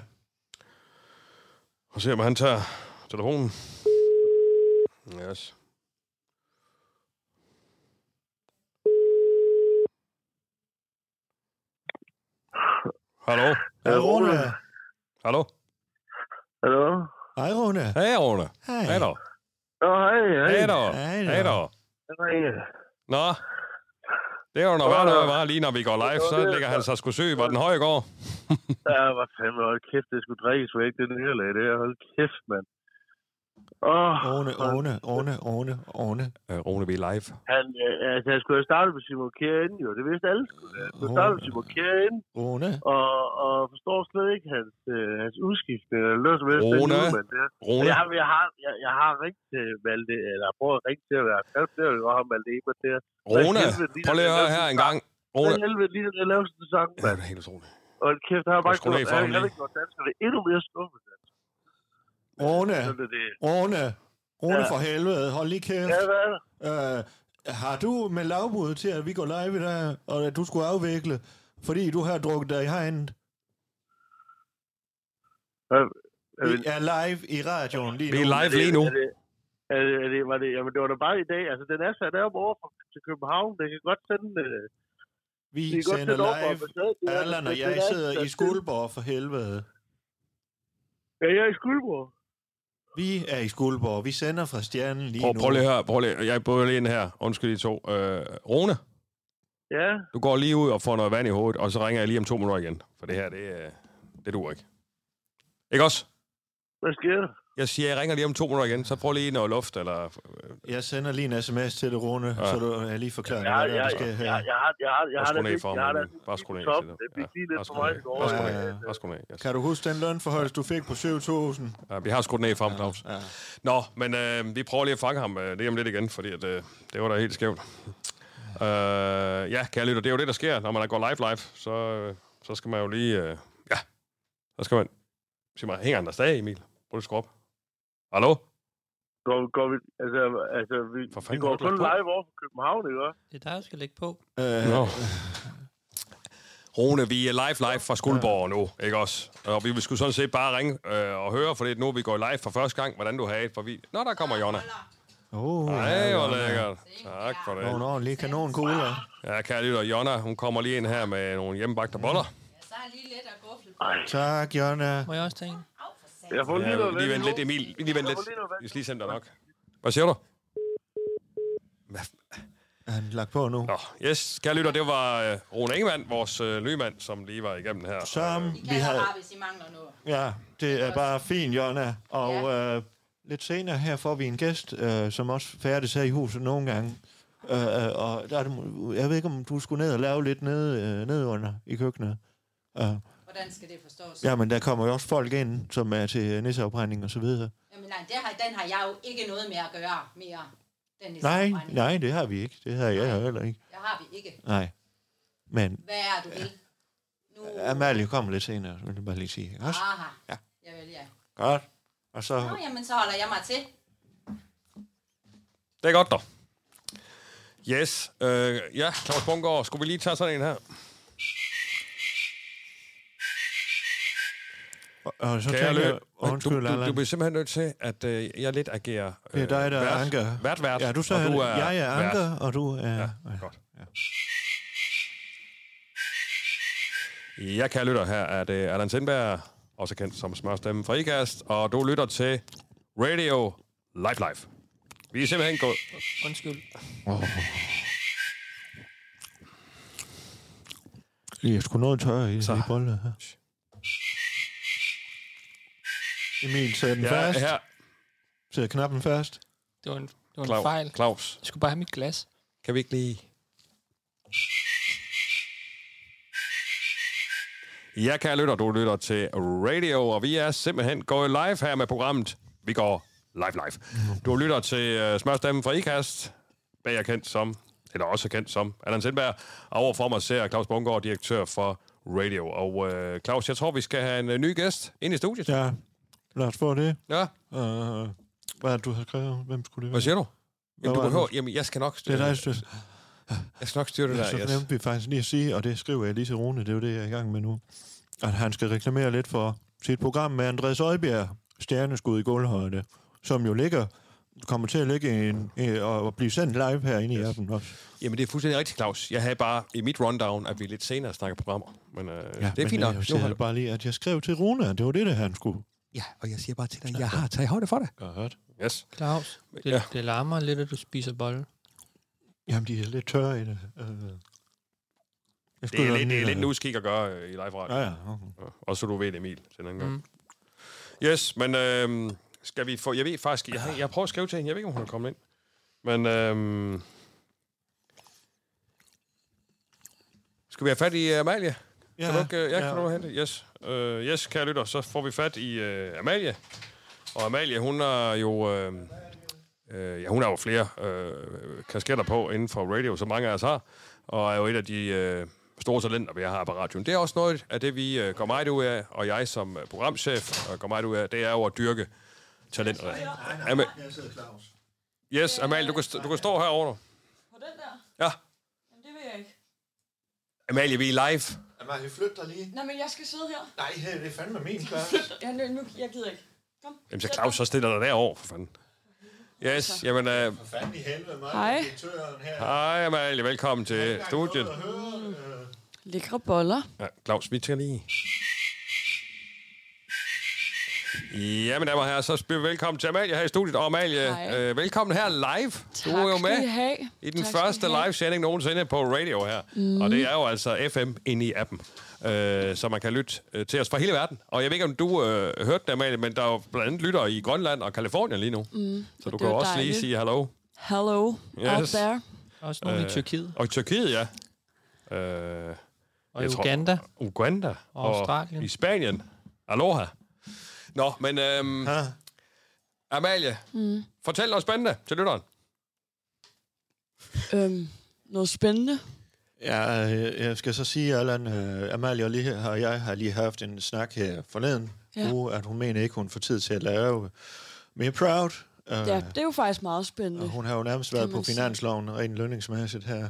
[SPEAKER 3] Og se, om han tager telefonen. Yes. Hallo?
[SPEAKER 4] Hej, Rune.
[SPEAKER 3] Hallo?
[SPEAKER 8] Hallo?
[SPEAKER 4] Hej, Rune.
[SPEAKER 3] Hej, Rune.
[SPEAKER 4] Hej.
[SPEAKER 3] Hej da.
[SPEAKER 8] Nå, hej, hej.
[SPEAKER 3] Hej da.
[SPEAKER 4] Hej da.
[SPEAKER 3] Hej da.
[SPEAKER 8] Hej.
[SPEAKER 3] Nå. Det er jo noget
[SPEAKER 8] Nå,
[SPEAKER 3] værd,
[SPEAKER 8] nå.
[SPEAKER 3] det var lige når vi går live, så ligger han sig sgu syg. Var den høj i går?
[SPEAKER 8] Ja, hvad fanden, hold kæft, det skulle drikkes væk, det nederlag der. Hold kæft, mand. Åh,
[SPEAKER 4] Rune, Rune, Rune, Rune, Rune.
[SPEAKER 3] Øh, Rune, vi er live.
[SPEAKER 8] han, øh, altså, han skulle have startet med Simon Kjær inden, jo. Det vidste alle skulle have. Han skulle have startet med Simon Kjær inden,
[SPEAKER 4] Rune.
[SPEAKER 8] og, og forstår slet ikke hans, øh, hans udskiftning, eller noget som helst.
[SPEAKER 3] Rune.
[SPEAKER 8] den lille mand der.
[SPEAKER 3] Rune.
[SPEAKER 8] Jeg, jeg, har, jeg, jeg har rigtig valgt det, eller jeg prøver rigtig til at være kaldt, det er jo godt, at Malte Ebert der.
[SPEAKER 3] Rune,
[SPEAKER 8] Hvad helvede,
[SPEAKER 3] prøv lige at høre her en gang. Rune.
[SPEAKER 8] Hvad helvede lige den der laveste sang,
[SPEAKER 3] Ja,
[SPEAKER 8] mand.
[SPEAKER 3] det er helt utroligt.
[SPEAKER 8] Og kæft, han har
[SPEAKER 3] Jeg
[SPEAKER 8] bare
[SPEAKER 3] skulle lige
[SPEAKER 8] gjort,
[SPEAKER 3] for ham
[SPEAKER 8] han, han har
[SPEAKER 3] lige.
[SPEAKER 8] gjort danskerne endnu mere skuffet.
[SPEAKER 4] Rune.
[SPEAKER 8] Sådan er det.
[SPEAKER 4] Rune. Rune
[SPEAKER 8] Ja.
[SPEAKER 4] for helvede. Hold lige
[SPEAKER 8] Ja,
[SPEAKER 4] kæft.
[SPEAKER 8] hvad er det?
[SPEAKER 4] Øh, har du med lavbud til, at vi går live i dag, og at du skulle afvikle, fordi du har drukket dig i hegnet?
[SPEAKER 8] Hvad- Er
[SPEAKER 4] Vi
[SPEAKER 8] det-
[SPEAKER 4] er live i radioen lige nu.
[SPEAKER 3] Vi er live lige nu.
[SPEAKER 8] Er Øh, det, er det, er det, var det, jamen, det var da bare i dag. Altså, den er sat op over for, til København. Det kan godt sende... øh, det
[SPEAKER 4] Vi
[SPEAKER 8] kan godt
[SPEAKER 4] sender
[SPEAKER 8] sende over for
[SPEAKER 4] live.
[SPEAKER 8] ambassaden. Det er-
[SPEAKER 4] Allan og
[SPEAKER 8] det-
[SPEAKER 4] jeg
[SPEAKER 8] det er-
[SPEAKER 4] sidder i
[SPEAKER 8] det-
[SPEAKER 4] Skuldborg for helvede.
[SPEAKER 8] Ja, jeg er i Skuldborg.
[SPEAKER 4] Vi er i Skuldborg. Vi sender fra stjernen lige
[SPEAKER 3] Prøv,
[SPEAKER 4] nu.
[SPEAKER 3] prøv lige at høre. Prøv lige. Jeg prøver lige ind her. Undskyld de to. Øh, Rune,
[SPEAKER 8] Ja,
[SPEAKER 3] du går lige ud og får noget vand i hovedet, og så ringer jeg lige om to minutter igen. For det her, det, øh, det duer ikke. Ikke også?
[SPEAKER 8] hvad sker der?
[SPEAKER 3] Jeg siger, jeg ringer lige om to minutter igen, så prøv lige noget luft, eller...
[SPEAKER 4] Jeg sender lige en sms til dig, Rune, ja.
[SPEAKER 3] Ja.
[SPEAKER 4] så du er lige forklaret,
[SPEAKER 8] Ja,
[SPEAKER 4] hvad der,
[SPEAKER 8] ja,
[SPEAKER 4] er, der
[SPEAKER 8] ja,
[SPEAKER 4] sker
[SPEAKER 8] ja,
[SPEAKER 4] her.
[SPEAKER 8] jeg har, jeg har, jeg
[SPEAKER 3] Bare
[SPEAKER 8] har,
[SPEAKER 3] skru
[SPEAKER 8] da
[SPEAKER 3] ned
[SPEAKER 8] lidt-
[SPEAKER 3] for ham,
[SPEAKER 8] jeg har da
[SPEAKER 3] Rune. Bare skru ned
[SPEAKER 8] top.
[SPEAKER 3] til det.
[SPEAKER 8] Det fik
[SPEAKER 3] Ja,
[SPEAKER 8] lige
[SPEAKER 3] bare
[SPEAKER 8] lidt
[SPEAKER 3] skru
[SPEAKER 8] for meget
[SPEAKER 3] ned.
[SPEAKER 8] i går.
[SPEAKER 3] Bare skru
[SPEAKER 8] men,
[SPEAKER 4] ned.
[SPEAKER 8] øh,
[SPEAKER 3] Bare sgu ned. Yes.
[SPEAKER 4] Kan du huske den lønforhøjelse, du fik på 7.000?
[SPEAKER 3] Ja, vi har skudt ned for ham, Claus.
[SPEAKER 4] Ja.
[SPEAKER 3] Nå, men øh, vi prøver lige at fange ham øh, lige om lidt igen, fordi at, øh, det var da helt skævt. Øh, ja, kære lytter, det er jo det, der sker, når man går live live, så, øh, så skal man jo lige... Øh, ja, så skal man... Sig mig, hænger han der stadig, Emil? Prøv at skrue op. Hallo?
[SPEAKER 8] Går, går vi, altså, altså, vi,
[SPEAKER 3] For
[SPEAKER 8] vi
[SPEAKER 3] fanden,
[SPEAKER 8] går
[SPEAKER 3] har du
[SPEAKER 8] kun
[SPEAKER 3] lagt på?
[SPEAKER 8] live over for København, ikke også?
[SPEAKER 5] Det er dig, der skal lægge på.
[SPEAKER 4] Øh,
[SPEAKER 3] Nå. Rune, vi er live live fra Skuldborg nu, ikke også? Og vi vil skulle sådan set bare ringe øh, og høre, for det er nu, vi går live for første gang, hvordan du har det, for vi... Nå, der kommer Jonna.
[SPEAKER 4] oh,
[SPEAKER 3] Ej, hvor lækkert. Tak for det.
[SPEAKER 4] Nogle ordentlige kanonkugler.
[SPEAKER 3] Ja, kære lytter, Jonna, hun kommer lige ind her med nogle hjemmebagte boller.
[SPEAKER 6] Ja, så er lige lidt at gufle på.
[SPEAKER 4] Tak, Jonna.
[SPEAKER 5] Må jeg også tage en?
[SPEAKER 8] Jeg får lige noget
[SPEAKER 3] Ja, lige
[SPEAKER 8] vand
[SPEAKER 3] vent
[SPEAKER 8] nu.
[SPEAKER 3] lidt, Emil. Lige vent
[SPEAKER 8] Jeg
[SPEAKER 3] lidt.
[SPEAKER 8] får lige noget vand.
[SPEAKER 3] Vi skal lige sende dig nok. Hvad siger du? Hvad f-
[SPEAKER 4] Er han lagt på nu?
[SPEAKER 3] Nå, yes, kære lytter, det var øh, Rune Ingemann, vores øh, nye mand, som lige var igennem her.
[SPEAKER 4] Som
[SPEAKER 6] I
[SPEAKER 4] vi
[SPEAKER 6] kan
[SPEAKER 4] havde...
[SPEAKER 6] have hvis I mangler noget.
[SPEAKER 4] Ja, det er bare fint, Jonna. Og øh, lidt senere her får vi en gæst, øh, som også færdes her i huset nogle gange. Øh, øh, og der er det, mu- jeg ved ikke, om du skulle ned og lave lidt nede, øh, nede under i køkkenet. Øh,
[SPEAKER 6] Hvordan skal det forstås? Ja.
[SPEAKER 4] ja, men der kommer jo også folk ind, som er til nisseopbrænding og så videre.
[SPEAKER 6] Jamen nej, det har, den har jeg jo ikke noget med at gøre mere. Den i
[SPEAKER 4] Nej,
[SPEAKER 6] sammenbrænding.
[SPEAKER 4] nej, det har vi ikke. Det har jeg heller ikke.
[SPEAKER 6] Det har vi ikke.
[SPEAKER 4] Nej. Men
[SPEAKER 6] Hvad er du vil? Nu...
[SPEAKER 4] Amalie kommer lidt senere, vil jeg bare lige sige. Også?
[SPEAKER 6] Aha.
[SPEAKER 4] Ja.
[SPEAKER 6] Ja. Jeg vil, ja.
[SPEAKER 4] Godt. Og så...
[SPEAKER 6] Nå, jamen, så holder jeg mig til.
[SPEAKER 3] Det er godt, dog. Yes. Øh, ja, Claus Bungård, skulle vi lige tage sådan en her?
[SPEAKER 4] Og, og så
[SPEAKER 3] Kære
[SPEAKER 4] tænker
[SPEAKER 3] Lø,
[SPEAKER 4] jeg... Undskyld,
[SPEAKER 3] du, du, du
[SPEAKER 4] Allan.
[SPEAKER 3] bliver simpelthen nødt til, at øh, jeg lidt agerer øh,
[SPEAKER 4] Det er dig, der er
[SPEAKER 3] vært,
[SPEAKER 4] anker.
[SPEAKER 3] Vært, vært,
[SPEAKER 4] Ja, du så
[SPEAKER 3] og
[SPEAKER 4] du er jeg er
[SPEAKER 3] vært.
[SPEAKER 4] anker, og du er... Ja.
[SPEAKER 3] Godt. Jeg kan lytter her, at øh, Allan Sindberg, også kendt som smørstemmen fra IKAST, og du lytter til Radio Live Live. Vi er simpelthen gået...
[SPEAKER 5] Undskyld.
[SPEAKER 4] Jeg skulle noget tørre i
[SPEAKER 3] Så.
[SPEAKER 4] så. de boller her. Emil, sæt den ja,
[SPEAKER 3] Jeg
[SPEAKER 4] fast.
[SPEAKER 3] er her.
[SPEAKER 4] Sæt knappen fast.
[SPEAKER 5] Det var en, det var en
[SPEAKER 3] Claus,
[SPEAKER 5] fejl.
[SPEAKER 3] Claus,
[SPEAKER 5] Jeg skulle bare have mit glas.
[SPEAKER 3] kan vi ikke lige... Jeg kan lytter, du lytter til radio, og vi er simpelthen gået live her med programmet. Vi går live live. Du lytter til uh, smørstemmen fra IKAST, hvad jeg er kendt som, eller også kendt som, Allan Sindberg. Og overfor mig ser jeg Claus Bungård, direktør for radio. Og uh, Claus, jeg tror, vi skal have en uh, ny gæst ind i studiet.
[SPEAKER 4] Ja, lad os få det.
[SPEAKER 3] Ja,
[SPEAKER 4] Uh, hvad er det, du har skrevet? Hvem skulle det
[SPEAKER 3] hvad
[SPEAKER 4] være?
[SPEAKER 3] siger du?
[SPEAKER 4] Hvad
[SPEAKER 3] Jamen, du
[SPEAKER 4] var det?
[SPEAKER 3] behøver, jamen, jeg skal nok
[SPEAKER 4] Det
[SPEAKER 3] styre
[SPEAKER 4] er
[SPEAKER 3] det,
[SPEAKER 4] dig, det,
[SPEAKER 3] jeg skal nok styre det
[SPEAKER 4] Ja, så
[SPEAKER 3] der. Yes.
[SPEAKER 4] glemte vi faktisk lige at sige, og det skriver jeg lige til Rune, det er jo det, jeg er i gang med nu, at han skal reklamere lidt for sit program med Andreas Øjbjerg, Stjerneskud i gulvhøjde, som jo ligger, kommer til at ligge en, øh, og og blive sendt live herinde i aften også.
[SPEAKER 3] Jamen, det er fuldstændig rigtigt, Claus. Jeg havde bare i mit rundown, at vi lidt senere snakker programmer. Men øh, ja, det er
[SPEAKER 4] men
[SPEAKER 3] fint nok.
[SPEAKER 4] Jeg
[SPEAKER 3] Nu
[SPEAKER 4] siger
[SPEAKER 3] har du...
[SPEAKER 4] bare lige, at jeg skrev til Rune, at det var det, det han skulle.
[SPEAKER 3] Ja, og jeg siger bare til dig, at jeg har taget højde for det.
[SPEAKER 4] Godt.
[SPEAKER 3] Yes.
[SPEAKER 5] Claus, det,
[SPEAKER 3] Ja.
[SPEAKER 5] ja. det larmer lidt, at du spiser bolle.
[SPEAKER 4] Jamen, de er lidt tørre i det. Øh. Jeg
[SPEAKER 3] Det er, lidt, det er
[SPEAKER 4] øh,
[SPEAKER 3] lidt en uskik at gøre øh, i live radio.
[SPEAKER 4] Ja, ja. okay.
[SPEAKER 3] Ja. Og så du ved det, Emil, til den anden gang. Mm. Yes, men øh, skal vi få... Jeg ved faktisk... Jeg, jeg prøver at skrive til hende. Jeg ved ikke, om hun er kommet ind. Men øh, Skal vi have fat i øh, Amalie? Kan du ikke, øh, ja, kan du hente? Yes. Uh, yes, kære lytter, så får vi fat i uh, Amalie. Og Amalie, hun har jo... Øh, øh, ja, hun har jo flere øh, kasketter på inden for radio, som mange af os har. Og er jo et af de øh, store talenter, vi har på radioen. Det er også noget af det, vi øh, går meget ud af, og jeg som øh, programchef øh, går meget ud af, det er jo at dyrke talenterne. Ama-
[SPEAKER 4] Jeg sidder Claus.
[SPEAKER 3] yes, Amalie, du kan, st- du kan stå herovre. nu.
[SPEAKER 6] På den der?
[SPEAKER 3] Ja,
[SPEAKER 6] Jamen, det vil jeg ikke.
[SPEAKER 3] Amalie, vi er live.
[SPEAKER 4] Amalie, flyt dig lige.
[SPEAKER 6] Nå, men jeg skal sidde her.
[SPEAKER 4] Nej, det er fandme min, Claus.
[SPEAKER 6] Jeg, nu, nu, jeg gider ikke.
[SPEAKER 3] Jamen, så Claus, så stiller dig derovre, for fanden.
[SPEAKER 9] Altså.
[SPEAKER 3] Yes, jamen, øh,
[SPEAKER 4] For fanden i helvede, mig.
[SPEAKER 9] Hej.
[SPEAKER 4] Direktøren her.
[SPEAKER 3] Hej Amalie, velkommen til studiet.
[SPEAKER 9] Mm. Lækre boller.
[SPEAKER 3] Ja, Claus, vi tager lige. Ja, mine damer og herrer, så spiller vi velkommen til Amalie her i studiet. Og Amalie,
[SPEAKER 9] Hej.
[SPEAKER 3] øh, velkommen her live.
[SPEAKER 9] Tak
[SPEAKER 3] Du er jo
[SPEAKER 9] skal I
[SPEAKER 3] med
[SPEAKER 9] have.
[SPEAKER 3] i den
[SPEAKER 9] Tak skal
[SPEAKER 3] første
[SPEAKER 9] I have.
[SPEAKER 3] livesending nogensinde på radio her. Mm. Og det er jo altså FM inde i appen, øh, så man kan lytte øh, til os fra hele verden. Og jeg ved ikke, om du øh, hørte det, Amalie, men der er jo blandt andet lyttere i Grønland og Kalifornien lige nu. Mm. Så du
[SPEAKER 9] det
[SPEAKER 3] kan
[SPEAKER 9] er
[SPEAKER 3] også lige
[SPEAKER 9] dejligt.
[SPEAKER 3] sige hallo.
[SPEAKER 9] Hello yes. out
[SPEAKER 3] Yes.
[SPEAKER 9] there.
[SPEAKER 5] Også nogle øh, i Tyrkiet
[SPEAKER 3] Og i Tyrkiet, ja. Øh,
[SPEAKER 5] og
[SPEAKER 3] jeg tror-
[SPEAKER 5] Uganda.
[SPEAKER 3] Uganda
[SPEAKER 5] Og Australien.
[SPEAKER 3] i Spanien. Aloha. Nå, men øhm,
[SPEAKER 4] Ha?
[SPEAKER 3] Amalie, mm. fortæl noget spændende til lytteren.
[SPEAKER 9] Øhm, noget spændende.
[SPEAKER 4] Ja, øh, jeg skal så sige, Allan, øh, Amalie og, lige, og jeg har lige haft en snak her forleden, ja.
[SPEAKER 9] Ja.
[SPEAKER 4] uge, at hun mener ikke, hun får tid til at lave mere proud. Øh,
[SPEAKER 9] Ja, det er jo faktisk meget spændende.
[SPEAKER 4] og hun har jo nærmest været
[SPEAKER 9] kan
[SPEAKER 4] på
[SPEAKER 9] man sige.
[SPEAKER 4] finansloven rent lønningsmæssigt her.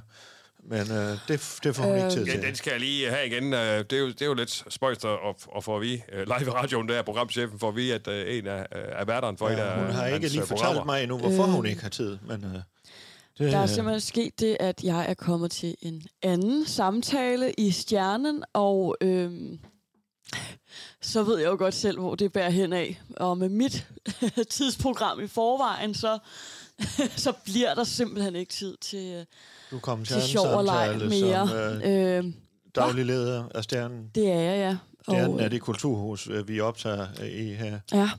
[SPEAKER 4] Men øh, det, det får hun øh, ikke tid
[SPEAKER 3] Ja,
[SPEAKER 4] til.
[SPEAKER 3] den skal jeg lige have igen. Øh, Det er jo, det er jo lidt spøjst at, at få at vide. øh, Live i radioen, der er programchefen, får at vide, at øh, en af, øh, af værterne for ja, et af
[SPEAKER 4] ja, hun har
[SPEAKER 3] hans,
[SPEAKER 4] ikke lige
[SPEAKER 3] øh,
[SPEAKER 4] fortalt
[SPEAKER 3] programmer.
[SPEAKER 4] mig endnu, hvorfor øh,
[SPEAKER 9] Øh.
[SPEAKER 4] hun ikke har tid. Men, øh, det,
[SPEAKER 9] Der er
[SPEAKER 4] øh,
[SPEAKER 9] simpelthen sket det, at jeg er kommet til en anden samtale i Stjernen, og øhm, så ved jeg jo godt selv, hvor det bærer hen af. Og med mit tidsprogram i forvejen, så, så bliver der simpelthen ikke tid til, øh,
[SPEAKER 4] du kom til,
[SPEAKER 9] til
[SPEAKER 4] til
[SPEAKER 9] sjov og leg
[SPEAKER 4] samtale mere.
[SPEAKER 9] mere.
[SPEAKER 4] som øh,
[SPEAKER 9] Øhm,
[SPEAKER 4] daglig leder af Stjernen.
[SPEAKER 9] det er jeg, ja.
[SPEAKER 4] Stjernen
[SPEAKER 9] Og,
[SPEAKER 4] øh, er det kulturhus, øh, vi optager øh, i her.
[SPEAKER 9] Ja.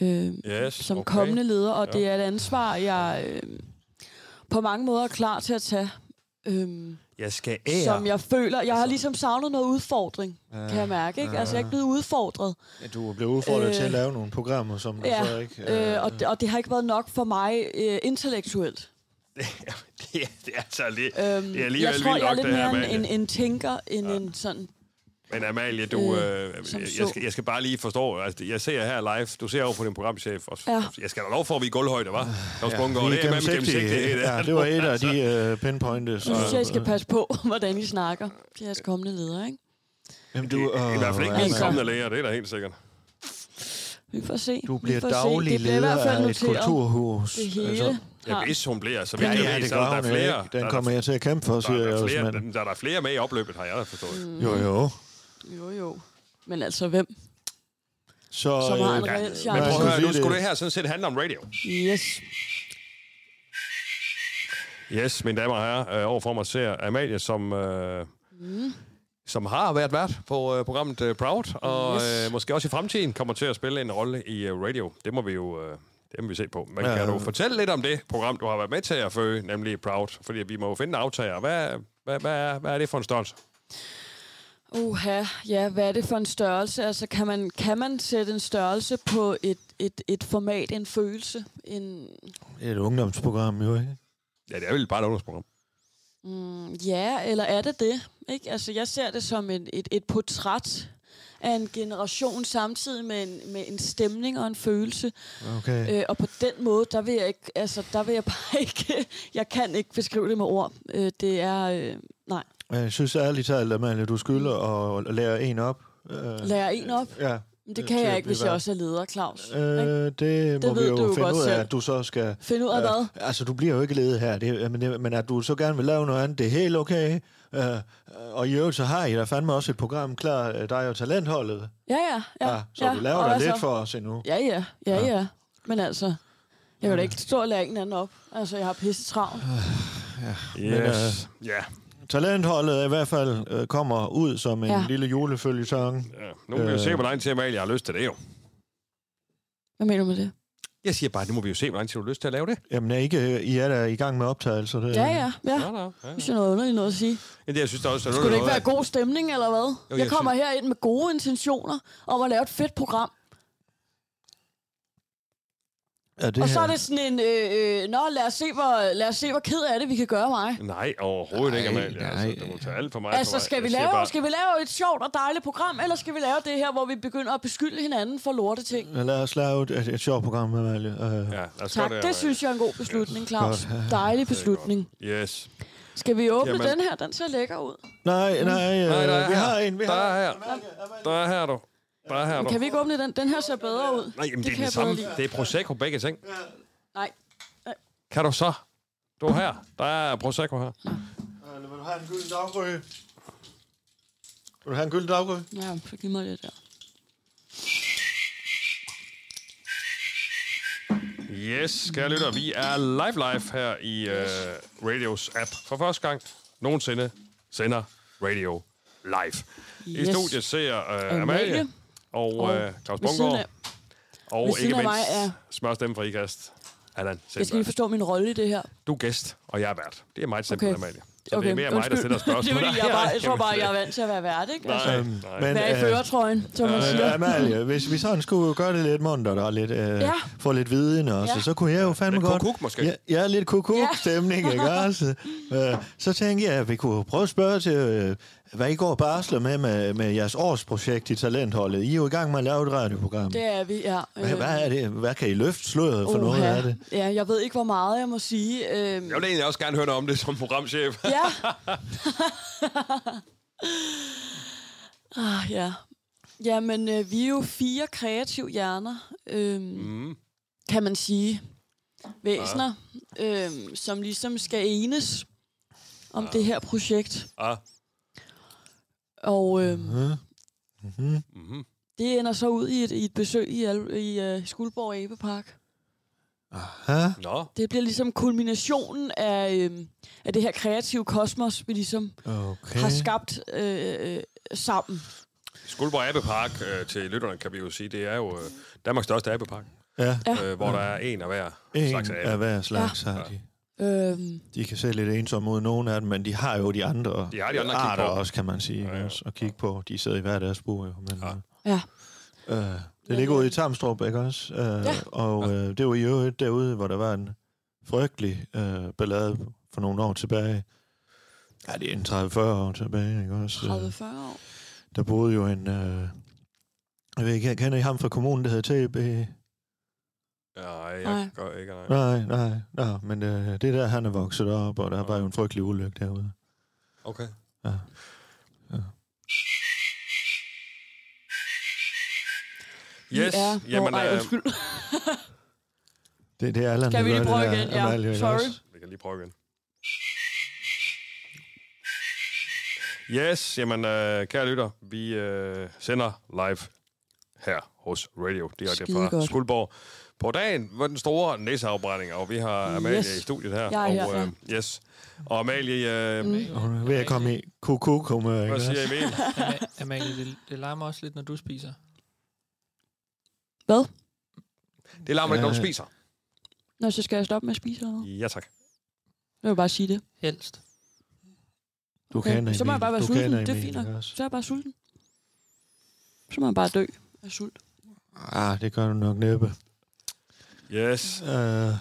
[SPEAKER 9] øh,
[SPEAKER 3] Yes,
[SPEAKER 9] som
[SPEAKER 3] okay.
[SPEAKER 9] okay. kommende leder, og ja.
[SPEAKER 3] Ja.
[SPEAKER 9] det er et ansvar, jeg øh, på mange måder er klar til at tage. Øh,
[SPEAKER 3] Jeg skal
[SPEAKER 9] som jeg føler. Jeg har
[SPEAKER 4] Altså-
[SPEAKER 9] ligesom savnet noget udfordring, kan jeg mærke. Ikke? Altså, jeg er ikke blevet udfordret.
[SPEAKER 4] Ja, du er blevet udfordret øh, til at
[SPEAKER 9] Øh,
[SPEAKER 4] lave nogle programmer, som du så
[SPEAKER 9] Ja,
[SPEAKER 4] ikke...
[SPEAKER 9] øh, og, det, og det har ikke været nok for mig øh, intellektuelt.
[SPEAKER 3] det, er- det er altså lige...
[SPEAKER 9] Øhm,
[SPEAKER 3] Det er alligevel
[SPEAKER 9] jeg tror,
[SPEAKER 3] vildt
[SPEAKER 9] jeg er
[SPEAKER 3] nok,
[SPEAKER 9] lidt
[SPEAKER 3] det her,
[SPEAKER 9] mere en,
[SPEAKER 3] Amalie.
[SPEAKER 9] en, en tænker, end ja. en sådan...
[SPEAKER 3] Men Amalie, du,
[SPEAKER 9] Øh,
[SPEAKER 3] øh,
[SPEAKER 9] som
[SPEAKER 3] jeg,
[SPEAKER 9] så.
[SPEAKER 3] jeg, skal, jeg skal bare lige forstå, altså, jeg ser her live, du ser over på din programchef, og ja.
[SPEAKER 9] Ja.
[SPEAKER 3] jeg skal da lov for, at vi er i gulvhøjde, hva'? Claus ja, Bundgaard,
[SPEAKER 4] vi
[SPEAKER 3] det er med gennemsigtighed. det er Altså.
[SPEAKER 4] Ja, det var et af de øh, pinpointes.
[SPEAKER 9] Nu synes jeg, I
[SPEAKER 4] og-
[SPEAKER 9] skal passe på, hvordan I snakker til jeres kommende leder, ikke?
[SPEAKER 4] Jamen, du,
[SPEAKER 3] I, I hvert fald ikke
[SPEAKER 4] åh,
[SPEAKER 3] mine
[SPEAKER 9] altså.
[SPEAKER 3] kommende læger, det er da helt sikkert.
[SPEAKER 9] Vi får se.
[SPEAKER 4] Du
[SPEAKER 9] vi
[SPEAKER 4] bliver
[SPEAKER 9] får
[SPEAKER 4] daglig
[SPEAKER 9] se. Det bliver i hvert
[SPEAKER 4] leder
[SPEAKER 9] fald
[SPEAKER 4] af et
[SPEAKER 9] noteret.
[SPEAKER 4] kulturhus.
[SPEAKER 9] Det hele
[SPEAKER 4] Altså,
[SPEAKER 3] Ja,
[SPEAKER 9] har...
[SPEAKER 3] hvis hun altså. bliver, så
[SPEAKER 4] ja,
[SPEAKER 3] vidt jeg
[SPEAKER 4] ja,
[SPEAKER 3] ved,
[SPEAKER 4] det
[SPEAKER 3] så er
[SPEAKER 4] gør
[SPEAKER 3] der
[SPEAKER 4] hun
[SPEAKER 3] flere.
[SPEAKER 4] ikke. Den
[SPEAKER 3] der-
[SPEAKER 4] kommer jeg til at kæmpe for,
[SPEAKER 3] der,
[SPEAKER 4] siger
[SPEAKER 3] er
[SPEAKER 4] jeg
[SPEAKER 3] der,
[SPEAKER 4] også.
[SPEAKER 3] flere,
[SPEAKER 4] Men,
[SPEAKER 3] der, der er der flere med i opløbet, har jeg da forstået.
[SPEAKER 4] jo, jo.
[SPEAKER 9] Jo, jo. Men altså, hvem?
[SPEAKER 4] Så,
[SPEAKER 9] Som har en
[SPEAKER 4] øh,
[SPEAKER 9] reel
[SPEAKER 3] Men
[SPEAKER 9] chance.
[SPEAKER 4] jeg
[SPEAKER 3] prøv
[SPEAKER 4] skulle
[SPEAKER 3] at høre,
[SPEAKER 4] sige
[SPEAKER 3] nu skulle
[SPEAKER 4] det.
[SPEAKER 3] det her sådan set handle om radio.
[SPEAKER 9] Yes.
[SPEAKER 3] Yes, mine damer og herrer, øh, overfor mig ser Amalie, som... Øh, som har været vært på øh, programmet øh, Proud, og
[SPEAKER 9] Yes.
[SPEAKER 3] øh, måske også i fremtiden kommer til at spille en rolle i øh, radio. Det må vi jo øh, det må vi se på. Men ja,
[SPEAKER 4] Ja.
[SPEAKER 3] kan du fortælle lidt om det program, du har været med til at føge, nemlig Proud? Fordi vi må jo finde en aftager. Hvad, hvad, hvad, er, hvad er det for en størrelse?
[SPEAKER 9] Uha, ja, hvad er det for en størrelse? Altså, kan man, kan man sætte en størrelse på et, et, et format, en følelse? En,
[SPEAKER 4] Et ungdomsprogram, jo ikke?
[SPEAKER 3] Ja, det er vel bare et ungdomsprogram.
[SPEAKER 9] mm, ja, eller er det det? Ikke? Altså, jeg ser det som et, et, et portræt af en generation samtidig med en, med en stemning og en følelse.
[SPEAKER 4] Okay.
[SPEAKER 9] Øh, og på den måde, der vil jeg ikke, altså, der vil jeg bare ikke, jeg kan ikke beskrive det med ord. Øh, det er, øh, nej,
[SPEAKER 4] Men jeg synes ærligt talt, Amalie, du skylder
[SPEAKER 9] Mm.
[SPEAKER 4] at lære en op. Øh,
[SPEAKER 9] lærer en op.
[SPEAKER 4] Ja.
[SPEAKER 9] Men det
[SPEAKER 4] øh,
[SPEAKER 9] kan
[SPEAKER 4] til
[SPEAKER 9] jeg
[SPEAKER 4] at
[SPEAKER 9] ikke,
[SPEAKER 4] blive
[SPEAKER 9] hvis jeg
[SPEAKER 4] vært.
[SPEAKER 9] også er leder, Claus. Øh,
[SPEAKER 4] Øh, det må
[SPEAKER 9] Det
[SPEAKER 4] vi
[SPEAKER 9] ved
[SPEAKER 4] jo
[SPEAKER 9] du jo
[SPEAKER 4] finde
[SPEAKER 9] godt
[SPEAKER 4] ud af,
[SPEAKER 9] selv.
[SPEAKER 4] at du så skal...
[SPEAKER 9] Find ud af hvad?
[SPEAKER 4] Øh, altså, du bliver jo ikke ledet her, det, er- men, det, men at du så gerne vil lave noget andet, det er helt okay. Øh, og i øvrigt, så har I da fandme også et program klar, øh, dig og talentholdet.
[SPEAKER 9] Ja, ja, ja.
[SPEAKER 4] Ah, så
[SPEAKER 9] ja.
[SPEAKER 4] du laver
[SPEAKER 9] og
[SPEAKER 4] dig lidt for os endnu.
[SPEAKER 9] Ja, ja, ja, ja. Men altså, jeg kan da ikke stå og lære en anden op. Altså, jeg har pisse travlt.
[SPEAKER 4] Yes.
[SPEAKER 3] Ja,
[SPEAKER 4] Talentholdet er i hvert fald øh, kommer ud som en
[SPEAKER 9] Ja.
[SPEAKER 4] lille julefølgetong.
[SPEAKER 3] ja. Nu må vi jo
[SPEAKER 4] Øh.
[SPEAKER 3] se, hvor lang tid Amalie har lyst til det jo.
[SPEAKER 9] Hvad mener du med det?
[SPEAKER 3] Jeg siger bare, nu må vi jo se, hvor lang tid du har lyst til at lave det.
[SPEAKER 4] Jamen, er I, ikke, øh, I er da i gang med optagelser.
[SPEAKER 3] Øh,
[SPEAKER 4] Det,
[SPEAKER 9] Ja, ja, ja.
[SPEAKER 3] Ja, da. ja.
[SPEAKER 9] Det synes jeg er noget underligt noget at sige.
[SPEAKER 3] Men det, jeg synes, der også, der
[SPEAKER 9] Skulle det
[SPEAKER 3] noget,
[SPEAKER 9] ikke være god stemning, eller hvad?
[SPEAKER 3] jeg
[SPEAKER 9] Jeg kommer herind med gode intentioner om at lave et fedt program.
[SPEAKER 4] Er det
[SPEAKER 9] Og så
[SPEAKER 4] her-
[SPEAKER 9] er det sådan en, øh, øh, nå, lad os, se, hvor, lad os se, hvor ked af det, vi kan gøre mig.
[SPEAKER 3] at- Nej, overhovedet nej, ikke, Amalie.
[SPEAKER 4] nej.
[SPEAKER 3] Altså, det må tage alt for meget.
[SPEAKER 9] Altså,
[SPEAKER 3] for mig.
[SPEAKER 9] skal vi,
[SPEAKER 3] Jeg siger
[SPEAKER 9] lave,
[SPEAKER 3] bare-
[SPEAKER 9] skal vi lave et sjovt og dejligt program, eller skal vi lave det her, hvor vi begynder at beskylde hinanden for lorte ting?
[SPEAKER 4] Lad os lave et, et, et sjovt program med Amalie. Øh,
[SPEAKER 3] Ja, lad os
[SPEAKER 9] Tak,
[SPEAKER 3] gøre
[SPEAKER 9] det synes jeg er en god beslutning, Claus.
[SPEAKER 4] Godt.
[SPEAKER 9] Dejlig
[SPEAKER 3] Det er godt.
[SPEAKER 9] beslutning.
[SPEAKER 3] Yes.
[SPEAKER 9] Skal vi åbne
[SPEAKER 3] Jamen.
[SPEAKER 9] den her? Den ser lækker ud.
[SPEAKER 4] Nej, nej, øh,
[SPEAKER 3] Nej, der er
[SPEAKER 4] vi
[SPEAKER 3] her.
[SPEAKER 4] har en. Vi
[SPEAKER 3] der
[SPEAKER 4] har
[SPEAKER 3] er her. Der er her, du. Der er her, du.
[SPEAKER 9] Kan vi ikke åbne den? Den her ser bedre ud.
[SPEAKER 3] Nej,
[SPEAKER 9] Det
[SPEAKER 3] jamen, det, det er
[SPEAKER 9] kan
[SPEAKER 3] den
[SPEAKER 9] jeg
[SPEAKER 3] samme.
[SPEAKER 9] bedre lide.
[SPEAKER 3] Det er Prosecco begge ting.
[SPEAKER 9] Nej.
[SPEAKER 3] Kan du så? Du er her. Der er Prosecco her.
[SPEAKER 4] Eller vil du have en gylden daggry? Vil du have en gylden daggry?
[SPEAKER 9] Ja, så giv mig det der.
[SPEAKER 3] Yes, kære lytter. Vi er live live her i øh, Radios app. For første gang nogensinde sender Radio live. I
[SPEAKER 9] Yes.
[SPEAKER 3] studiet ser øh,
[SPEAKER 9] Amalie.
[SPEAKER 3] Amalie og øh, Claus
[SPEAKER 9] ved siden af,
[SPEAKER 3] Bungård. Og
[SPEAKER 9] ved siden
[SPEAKER 3] ikke
[SPEAKER 9] af mig
[SPEAKER 3] mindst
[SPEAKER 9] er-
[SPEAKER 3] smørstemme fra IKAST. Allan
[SPEAKER 9] jeg skal lige
[SPEAKER 3] Sindberg.
[SPEAKER 9] forstå min rolle i det her.
[SPEAKER 3] Du er gæst, og jeg er vært. Det er meget simpelt,
[SPEAKER 9] Okay.
[SPEAKER 3] Amalie. Så det er mere mig, der
[SPEAKER 9] undskyld.
[SPEAKER 3] stiller spørgsmål.
[SPEAKER 9] det er fordi, jeg, bare, jeg tror bare, jeg er
[SPEAKER 3] Nej,
[SPEAKER 9] vant til at være vært, ikke?
[SPEAKER 3] nej.
[SPEAKER 4] Øhm, Men,
[SPEAKER 9] være i førertrøjen, som man
[SPEAKER 4] øh,
[SPEAKER 9] siger.
[SPEAKER 4] Amalie, hvis vi sådan skulle gøre det lidt mundt og lidt, øh, ja. få lidt viden også,
[SPEAKER 9] Ja.
[SPEAKER 4] ja. så kunne jeg jo fandme
[SPEAKER 3] Lidt
[SPEAKER 4] godt...
[SPEAKER 3] kukuk måske.
[SPEAKER 4] Ja, ja lidt
[SPEAKER 9] Ja.
[SPEAKER 4] kukuk-stemning, ja. ikke også? Øh, så tænkte jeg, at vi kunne prøve at spørge til, øh, hvad I går og barsler med, med med jeres årsprojekt i Talentholdet. I er jo i gang med at lave et radioprogram.
[SPEAKER 9] Det øh, er vi, ja.
[SPEAKER 4] Hvad, hvad er det? Hvad kan I løfte sløret for noget
[SPEAKER 9] Uha.
[SPEAKER 4] af det?
[SPEAKER 9] Ja, jeg ved ikke, hvor meget jeg må sige. Øhm,
[SPEAKER 3] Jeg vil egentlig også gerne høre noget om det som programchef.
[SPEAKER 9] Ja. ah, ja. Jamen, øh, vi er jo fire kreative hjerner, øhm, mm. kan man sige, væsener, ja.
[SPEAKER 3] Ah.
[SPEAKER 9] øhm, som ligesom skal enes om ja. det her projekt.
[SPEAKER 3] Ja.
[SPEAKER 9] Og øhm, mm-hmm.
[SPEAKER 3] Mm-hmm.
[SPEAKER 9] det ender så ud i et, i et besøg i, Al- i uh, Skuldborg Abepark.
[SPEAKER 4] Hæ?
[SPEAKER 3] Nå,
[SPEAKER 9] Det bliver ligesom kulminationen af, øhm, af det her kreative kosmos, vi ligesom
[SPEAKER 4] Okay.
[SPEAKER 9] har skabt øh, øh, sammen.
[SPEAKER 3] Skuldborg Abbepark øh, til lytterne, kan vi jo sige, det er jo øh, Danmarks største Abbepark.
[SPEAKER 4] Ja,
[SPEAKER 3] øh, hvor der er en af hver slags
[SPEAKER 4] en
[SPEAKER 3] abe.
[SPEAKER 4] af hver slags ja. har de.
[SPEAKER 9] Øhm,
[SPEAKER 4] De kan se lidt ensomme ud, nogle af dem, men de har jo de andre,
[SPEAKER 3] De har de andre at kigge
[SPEAKER 4] arter
[SPEAKER 3] på.
[SPEAKER 4] også, kan man sige. Ja, ja. Også, at kigge på. De sidder i hver deres bo, jo. Men,
[SPEAKER 3] Ja.
[SPEAKER 9] ja.
[SPEAKER 4] øh, det ligger ude i Tarmstrup, ikke også? Øh, ja. Og øh, det var i øvrigt derude, hvor der var en frygtelig øh, ballade for nogle år tilbage. Ja, det er en 30-40 år tilbage, ikke også? Øh,
[SPEAKER 9] 30-40 år.
[SPEAKER 4] Der boede jo en... Øh, jeg ved ikke, kender I ham fra kommunen, der hedder TB?
[SPEAKER 3] Nej,
[SPEAKER 9] Nej.
[SPEAKER 3] jeg gør ikke, nej.
[SPEAKER 4] Nej, nej, nej, men øh, det er der, han er vokset op, og der var jo en frygtelig ulykke derude.
[SPEAKER 3] Okay.
[SPEAKER 9] Vi
[SPEAKER 3] Yes,
[SPEAKER 9] er,
[SPEAKER 3] jamen,
[SPEAKER 9] Nå, ej,
[SPEAKER 3] øh,
[SPEAKER 9] undskyld.
[SPEAKER 4] Det, det er Allan,
[SPEAKER 9] Skal
[SPEAKER 4] der
[SPEAKER 9] vi lige
[SPEAKER 4] gør det
[SPEAKER 9] prøve
[SPEAKER 4] der,
[SPEAKER 9] igen? Ja,
[SPEAKER 4] Amalie, ikke
[SPEAKER 9] sorry.
[SPEAKER 4] også?
[SPEAKER 3] Vi kan lige prøve igen. Yes, jamen øh, kære lytter, vi øh, sender live her hos Radio, direkte fra
[SPEAKER 9] Skidegodt.
[SPEAKER 3] Skuldborg. På dagen var den store næseafbrænding, og vi har Amalie
[SPEAKER 9] Yes.
[SPEAKER 3] i studiet her.
[SPEAKER 9] Jeg er
[SPEAKER 3] og,
[SPEAKER 9] herfra.
[SPEAKER 3] øh, yes. og Amalie, øh, mm.
[SPEAKER 4] Hun er ved at komme i kukuk-humør, ikke
[SPEAKER 3] hvad
[SPEAKER 4] også?
[SPEAKER 3] siger Emil?
[SPEAKER 5] Ama- Amalie, det, det larmer også lidt, når du spiser.
[SPEAKER 9] Hvad?
[SPEAKER 3] Det larmer ikke, når du
[SPEAKER 4] Øh.
[SPEAKER 3] spiser.
[SPEAKER 9] Nå, så skal jeg stoppe med at spise eller noget.
[SPEAKER 3] Ja tak.
[SPEAKER 9] Jeg vil bare sige det.
[SPEAKER 5] Helst.
[SPEAKER 4] Du
[SPEAKER 9] Okay,
[SPEAKER 4] kender
[SPEAKER 9] så må jeg
[SPEAKER 4] Emil,
[SPEAKER 9] bare være
[SPEAKER 4] du
[SPEAKER 9] sulten,
[SPEAKER 4] kender
[SPEAKER 9] det er
[SPEAKER 4] Emil,
[SPEAKER 9] fint nok.
[SPEAKER 4] ikke også?
[SPEAKER 9] Så er jeg bare sulten. Så må jeg bare dø af sult.
[SPEAKER 4] Ah, det gør du nok næppe.
[SPEAKER 3] Yes.
[SPEAKER 4] Uh, men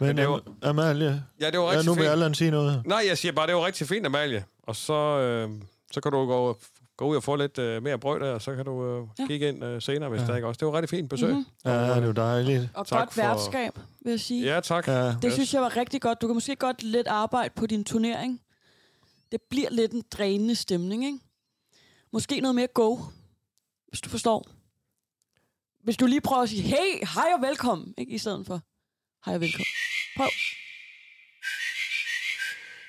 [SPEAKER 3] Men det var-
[SPEAKER 4] Am- Amalie,
[SPEAKER 3] Ja, det var
[SPEAKER 4] ja,
[SPEAKER 3] rigtig
[SPEAKER 4] nu vil
[SPEAKER 3] fint.
[SPEAKER 4] Allan sige noget.
[SPEAKER 3] Nej, jeg siger bare, det var rigtig fint, Amalie. Og så, øh, så kan du gå, gå ud og få lidt øh, mere brød der, og så kan du øh,
[SPEAKER 9] Ja.
[SPEAKER 3] kigge ind øh, senere, hvis
[SPEAKER 4] Ja.
[SPEAKER 3] ja. der ikke også. Det var rigtig fint besøg.
[SPEAKER 9] Mhm.
[SPEAKER 3] Mm-hmm.
[SPEAKER 4] Ja, det var dejligt.
[SPEAKER 9] Og tak
[SPEAKER 3] Tak
[SPEAKER 9] godt
[SPEAKER 3] for-
[SPEAKER 9] for... værtskab, vil jeg sige.
[SPEAKER 3] Ja, tak.
[SPEAKER 4] Ja,
[SPEAKER 9] Det synes jeg var rigtig godt. Du kan måske godt lidt arbejde på din turnering. Det bliver lidt en drænende stemning, ikke? Måske noget mere go, hvis du forstår. Hvis du lige prøver at sige, hey, hej og velkommen, ikke? I stedet for, hej og velkommen. Prøv.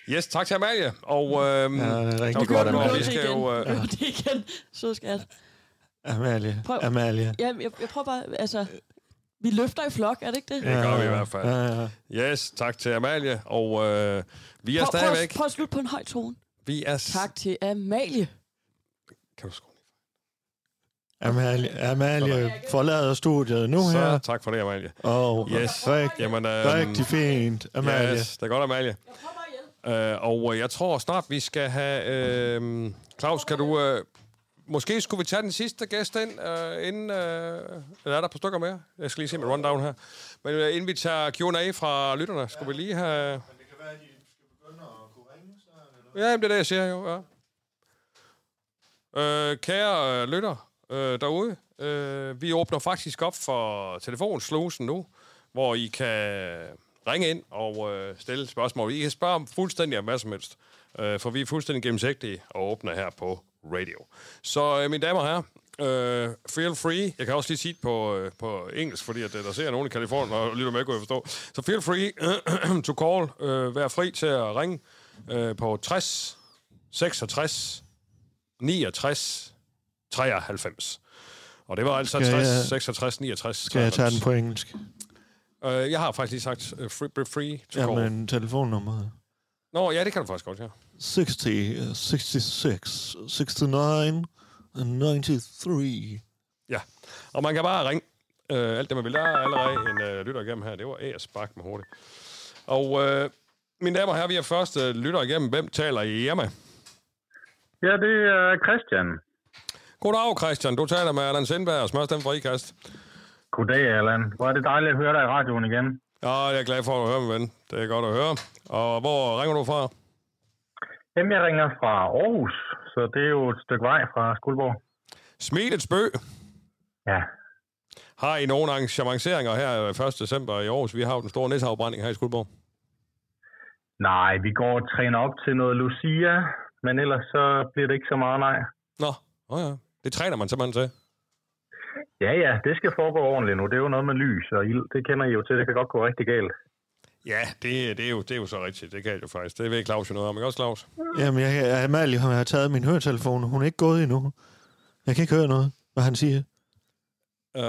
[SPEAKER 3] Yes, tak til Amalie. Og øhm,
[SPEAKER 4] ja,
[SPEAKER 3] ja.
[SPEAKER 4] det er
[SPEAKER 3] Nu
[SPEAKER 4] rigtig
[SPEAKER 3] gjorde du det.
[SPEAKER 4] godt,
[SPEAKER 9] Prøv
[SPEAKER 3] vi
[SPEAKER 4] Amalie.
[SPEAKER 9] det
[SPEAKER 3] skal
[SPEAKER 9] igen.
[SPEAKER 3] jo, øh,
[SPEAKER 9] Prøv det igen. Så skat.
[SPEAKER 4] Amalie,
[SPEAKER 9] Prøv.
[SPEAKER 4] Amalie.
[SPEAKER 9] Ja, jeg, jeg prøver bare, altså... Vi løfter i flok, er det ikke det?
[SPEAKER 3] Det gør vi i hvert fald.
[SPEAKER 4] Ja, ja.
[SPEAKER 3] yes, tak til Amalie. Og øh, vi er
[SPEAKER 9] Prøv, prøv, at-
[SPEAKER 3] stadigvæk...
[SPEAKER 9] prøv at slutte på en høj tone.
[SPEAKER 3] Vi er... s-
[SPEAKER 9] Tak til Amalie.
[SPEAKER 3] Kan du skrue ned?
[SPEAKER 4] Amalie, Amalie forlader studiet nu
[SPEAKER 3] Så
[SPEAKER 4] her.
[SPEAKER 3] tak for det, Amalie.
[SPEAKER 4] Og
[SPEAKER 3] Yes.
[SPEAKER 4] rigtig,
[SPEAKER 3] Jamen, øh,
[SPEAKER 4] rigtig fint, Amalie.
[SPEAKER 3] Yes, det er godt, Amalie. Øh, og øh, jeg tror snart, vi skal have... Øh, Claus, kan du... Øh, måske skulle vi tage den sidste gæst ind, øh, inden... Øh, eller er der et par stykker mere? Jeg skal lige se min rundown her. Men øh, inden vi tager Q&A fra lytterne, skulle vi lige have... Ja, jamen, det er det, jeg siger jo, ja. Øh, kære øh, lytter øh, derude, øh, vi åbner faktisk op for telefonslusen nu, hvor I kan ringe ind og øh, stille spørgsmål. I kan spørge om fuldstændig om hvad som helst, øh, for vi er fuldstændig gennemsigtige og åbne her på radio. Så øh, mine damer og herrer, øh, feel free. Jeg kan også lige sige det på, øh, på engelsk, fordi at, øh, der ser nogen i Kalifornien og lytter med, kunne jeg forstå. Så feel free to call. Øh, vær fri til at ringe øh, på 60 66 69 93. Og det var altså
[SPEAKER 4] Skal
[SPEAKER 3] 60,
[SPEAKER 4] jeg-
[SPEAKER 3] 66, 69, 93.
[SPEAKER 4] Skal jeg tage den på engelsk?
[SPEAKER 3] Øh, jeg har faktisk lige sagt uh, free, be free to call.
[SPEAKER 4] Jamen, telefonnummeret.
[SPEAKER 3] Nå, ja, det kan du faktisk godt, ja.
[SPEAKER 4] 60, 66, 69, 93.
[SPEAKER 3] ja. Og man kan bare ringe. Øh, alt det, man vil. Der er allerede en øh, lytter igennem her. Det var æres bak med hurtigt. Og øh, mine damer og herrer, vi er først øh, lytter igennem. Hvem taler I hjemme?
[SPEAKER 10] Ja, det er Christian.
[SPEAKER 3] Goddag, Christian. Du taler med Allan Sindberg og Smørstemme fra IKAST.
[SPEAKER 10] Goddag, Allan. Hvor er det dejligt at høre dig i radioen igen.
[SPEAKER 3] Ja, jeg er glad for at høre, min ven. Det er godt at høre. Og hvor ringer du fra?
[SPEAKER 10] Jamen, jeg ringer fra Aarhus, så det er jo et stykke vej fra Skuldborg.
[SPEAKER 3] Smilets Bø.
[SPEAKER 10] Ja,
[SPEAKER 3] Har I nogle arrangementer her øh, 1. december i Aarhus? Vi har jo den store næsafbrænding her i Skuldborg.
[SPEAKER 10] nej, vi går og træner op til noget Lucia, men ellers så bliver det ikke så meget nej.
[SPEAKER 3] Nå, oh, ja. Det træner man simpelthen til.
[SPEAKER 10] Ja, ja, det skal foregå ordentligt nu. Det er jo noget med lys og ild. Det kender I jo til. Det kan godt gå rigtig galt.
[SPEAKER 3] Ja, det, det, er jo, det er jo så rigtigt. Det kan jeg jo faktisk. Det ved Claus jo noget om, ikke også, Claus?
[SPEAKER 4] Jamen, jeg, jeg, Amalie har taget min høretelefon. Hun er ikke gået endnu. Jeg kan ikke høre noget, hvad han siger.
[SPEAKER 3] Øh,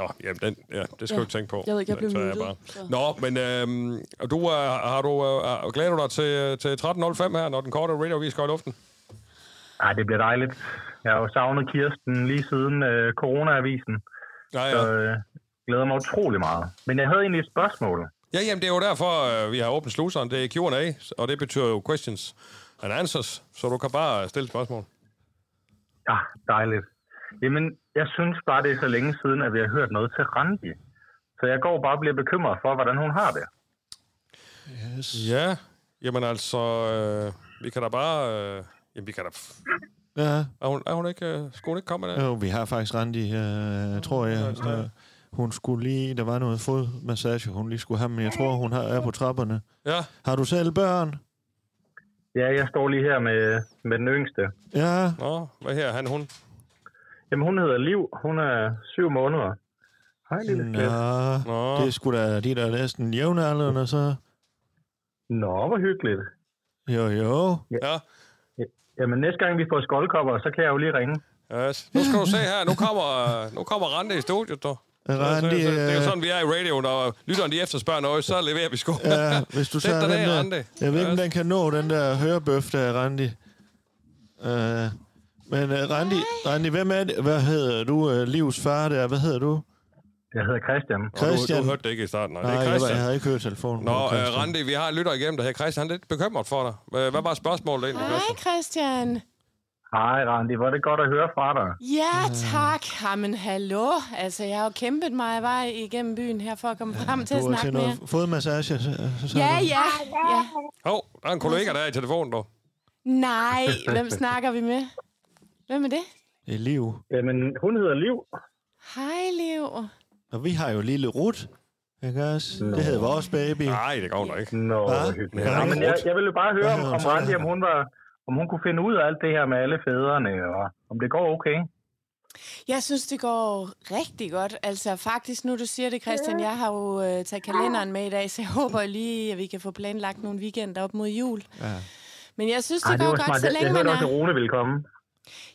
[SPEAKER 3] ja, jamen, den, ja, det
[SPEAKER 9] Ja.
[SPEAKER 3] skal ja. du ikke tænke på.
[SPEAKER 9] Jeg ved ikke, jeg blev
[SPEAKER 3] Så er
[SPEAKER 9] muted.
[SPEAKER 3] bare-
[SPEAKER 9] Så.
[SPEAKER 3] Nå, men øhm, og du, øh, har du, øh, glæder du dig til, øh, til 13.05 her, når den korte radiovis går i luften?
[SPEAKER 10] Nej, det bliver dejligt. Jeg har jo savnet Kirsten lige siden øh, coronaavisen.
[SPEAKER 3] Ja,
[SPEAKER 10] Så
[SPEAKER 3] ja.
[SPEAKER 10] øh,
[SPEAKER 11] glæder mig utrolig meget. Men jeg havde egentlig et spørgsmål.
[SPEAKER 3] Ja, jamen det er jo derfor, øh, vi har åbnet sluseren. Det er Q&A, og det betyder jo questions and answers, så du kan bare stille spørgsmål.
[SPEAKER 11] Ja, dejligt. Jamen, jeg synes bare, det er så længe siden, at vi har hørt noget til Randi. Så jeg går bare og bliver bekymret for, hvordan hun har det.
[SPEAKER 3] Yes. Ja, jamen altså, øh, vi kan da bare... Øh, jamen, vi kan da...
[SPEAKER 4] Ja.
[SPEAKER 3] Er hun, er hun ikke... Øh, skulle hun ikke komme med det?
[SPEAKER 4] Jo, vi har faktisk Randi, øh, tror jeg. Øh, hun skulle lige... Der var noget fodmassage, hun lige skulle have, men jeg tror, hun har, er på trapperne.
[SPEAKER 3] Ja.
[SPEAKER 4] Har du selv børn?
[SPEAKER 11] Ja, jeg står lige her med, med den yngste.
[SPEAKER 4] Ja.
[SPEAKER 3] Nå, hvad her? Han, hun?
[SPEAKER 11] Jamen, hun hedder Liv. Hun er syv måneder. Hej, lille skat.
[SPEAKER 4] Nå,
[SPEAKER 3] Nå.
[SPEAKER 4] det er sgu da de, der er næsten jævnaldrende, så...
[SPEAKER 11] Nå, hvor hyggeligt.
[SPEAKER 4] Jo, jo.
[SPEAKER 3] Ja.
[SPEAKER 11] Jamen, næste gang vi får skoldkopper, så kan jeg jo lige ringe.
[SPEAKER 3] Yes. Nu skal du se her, nu kommer, øh, nu kommer Rande i studiet, du.
[SPEAKER 4] Randi,
[SPEAKER 3] det, det er jo
[SPEAKER 4] øh,
[SPEAKER 3] sådan, vi er i radio, når lytteren de efterspørger noget, så leverer vi sko.
[SPEAKER 4] Ja, hvis du
[SPEAKER 3] Sæt
[SPEAKER 4] tager
[SPEAKER 3] dig
[SPEAKER 4] den
[SPEAKER 3] ned,
[SPEAKER 4] der...
[SPEAKER 3] Randi.
[SPEAKER 4] Jeg ved ikke, om
[SPEAKER 3] Ja.
[SPEAKER 4] den kan nå den der hørebøf, der er Randi. Øh, men uh, Randi, Randi, hvem er det? Hvad hedder du? Uh, Livs far der, hvad hedder du?
[SPEAKER 11] Jeg hedder Christian.
[SPEAKER 3] Christian.
[SPEAKER 4] Christian?
[SPEAKER 3] Du, du hørte det ikke i starten, nej.
[SPEAKER 4] Nej,
[SPEAKER 3] det er
[SPEAKER 4] jeg, var- jeg
[SPEAKER 3] Christian.
[SPEAKER 4] havde ikke hørt telefonen.
[SPEAKER 3] Nå,
[SPEAKER 4] Det var
[SPEAKER 3] øh,
[SPEAKER 4] Christian.
[SPEAKER 3] Randi, vi har en lytter igennem, der hedder Christian. Han er lidt bekymret for dig. Hvad hvad var spørgsmålet egentlig,
[SPEAKER 12] Hej Christian.
[SPEAKER 3] Christian?
[SPEAKER 11] Hej, Randi. Hvor er det godt at høre fra dig.
[SPEAKER 12] Ja, tak. Jamen, hallo. Altså, jeg har jo kæmpet mig vej igennem byen her for at komme frem til at
[SPEAKER 4] Du var
[SPEAKER 12] snakke
[SPEAKER 4] til
[SPEAKER 12] med jer.
[SPEAKER 4] noget fodmassage, så, så
[SPEAKER 12] Ja, ja, ja.
[SPEAKER 3] Hov, der er en kollega, der er i telefonen, du.
[SPEAKER 12] Nej, hvem snakker vi med? Hvem er det?
[SPEAKER 4] Liv.
[SPEAKER 11] Jamen, hun hedder Liv.
[SPEAKER 12] Hej, Liv.
[SPEAKER 4] Og vi har jo lille Rut, ikke også? Det hedder vores baby.
[SPEAKER 3] Nej, det går nok ikke.
[SPEAKER 11] Nå,
[SPEAKER 4] Hva?
[SPEAKER 11] hvor hyggeligt.
[SPEAKER 4] Ja,
[SPEAKER 11] Ja, men
[SPEAKER 4] Rut.
[SPEAKER 11] jeg, jeg ville jo bare høre,
[SPEAKER 4] Hvad
[SPEAKER 11] om,
[SPEAKER 4] hedder
[SPEAKER 11] om
[SPEAKER 4] hun så?
[SPEAKER 11] Randi, om hun, var, om hun kunne finde ud af alt det her med alle fædrene, og om det går okay.
[SPEAKER 12] Jeg synes, det går rigtig godt. Altså, faktisk, nu du siger det, Christian, jeg har jo øh, taget kalenderen med i dag, så jeg håber lige, at vi kan få planlagt nogle weekender op mod jul.
[SPEAKER 4] Ja.
[SPEAKER 12] Men jeg synes, det
[SPEAKER 11] Ej,
[SPEAKER 12] Ej, går godt, så
[SPEAKER 11] Jeg, jeg
[SPEAKER 12] længe man
[SPEAKER 11] hørte også, at
[SPEAKER 12] er...
[SPEAKER 11] Rune ville komme.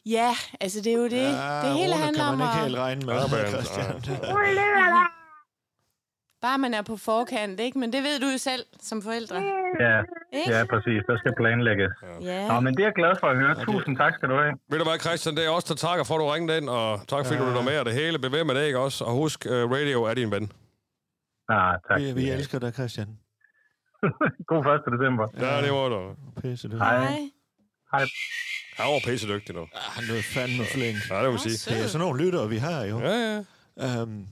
[SPEAKER 12] Ja, altså, det er jo det. Ja, det hele
[SPEAKER 4] Ah, Rune
[SPEAKER 12] handler
[SPEAKER 4] kan
[SPEAKER 12] om
[SPEAKER 4] man ikke
[SPEAKER 12] at...
[SPEAKER 4] helt regne med,
[SPEAKER 3] Ja,
[SPEAKER 4] Christian.
[SPEAKER 12] Bare man er på forkant, ikke? Men det ved du jo selv som forældre.
[SPEAKER 11] Ja,
[SPEAKER 12] Ikke?
[SPEAKER 11] ja præcis. Der skal planlægges.
[SPEAKER 12] Ja.
[SPEAKER 11] Nå, men det er jeg glad for at høre. Tusind tak skal du have.
[SPEAKER 3] Ved du hvad, Christian, det er os, der takker for, at du ringede ind, og tak fordi du lytter med, og det hele bevæger med det, ikke også? Og husk, øh, radio er din ven.
[SPEAKER 11] Ah, tak.
[SPEAKER 4] Vi, vi elsker dig, Christian.
[SPEAKER 11] God 1. december.
[SPEAKER 3] Ja, det var du.
[SPEAKER 4] Pisse, du.
[SPEAKER 11] Hej.
[SPEAKER 12] Hej.
[SPEAKER 11] Hej.
[SPEAKER 3] Han var pisse dygtig, du.
[SPEAKER 4] Han lød fandme flink.
[SPEAKER 3] Ja, det må vi sige.
[SPEAKER 4] Det er sådan nogle lyttere, vi har jo.
[SPEAKER 3] Ja, ja.
[SPEAKER 4] Um,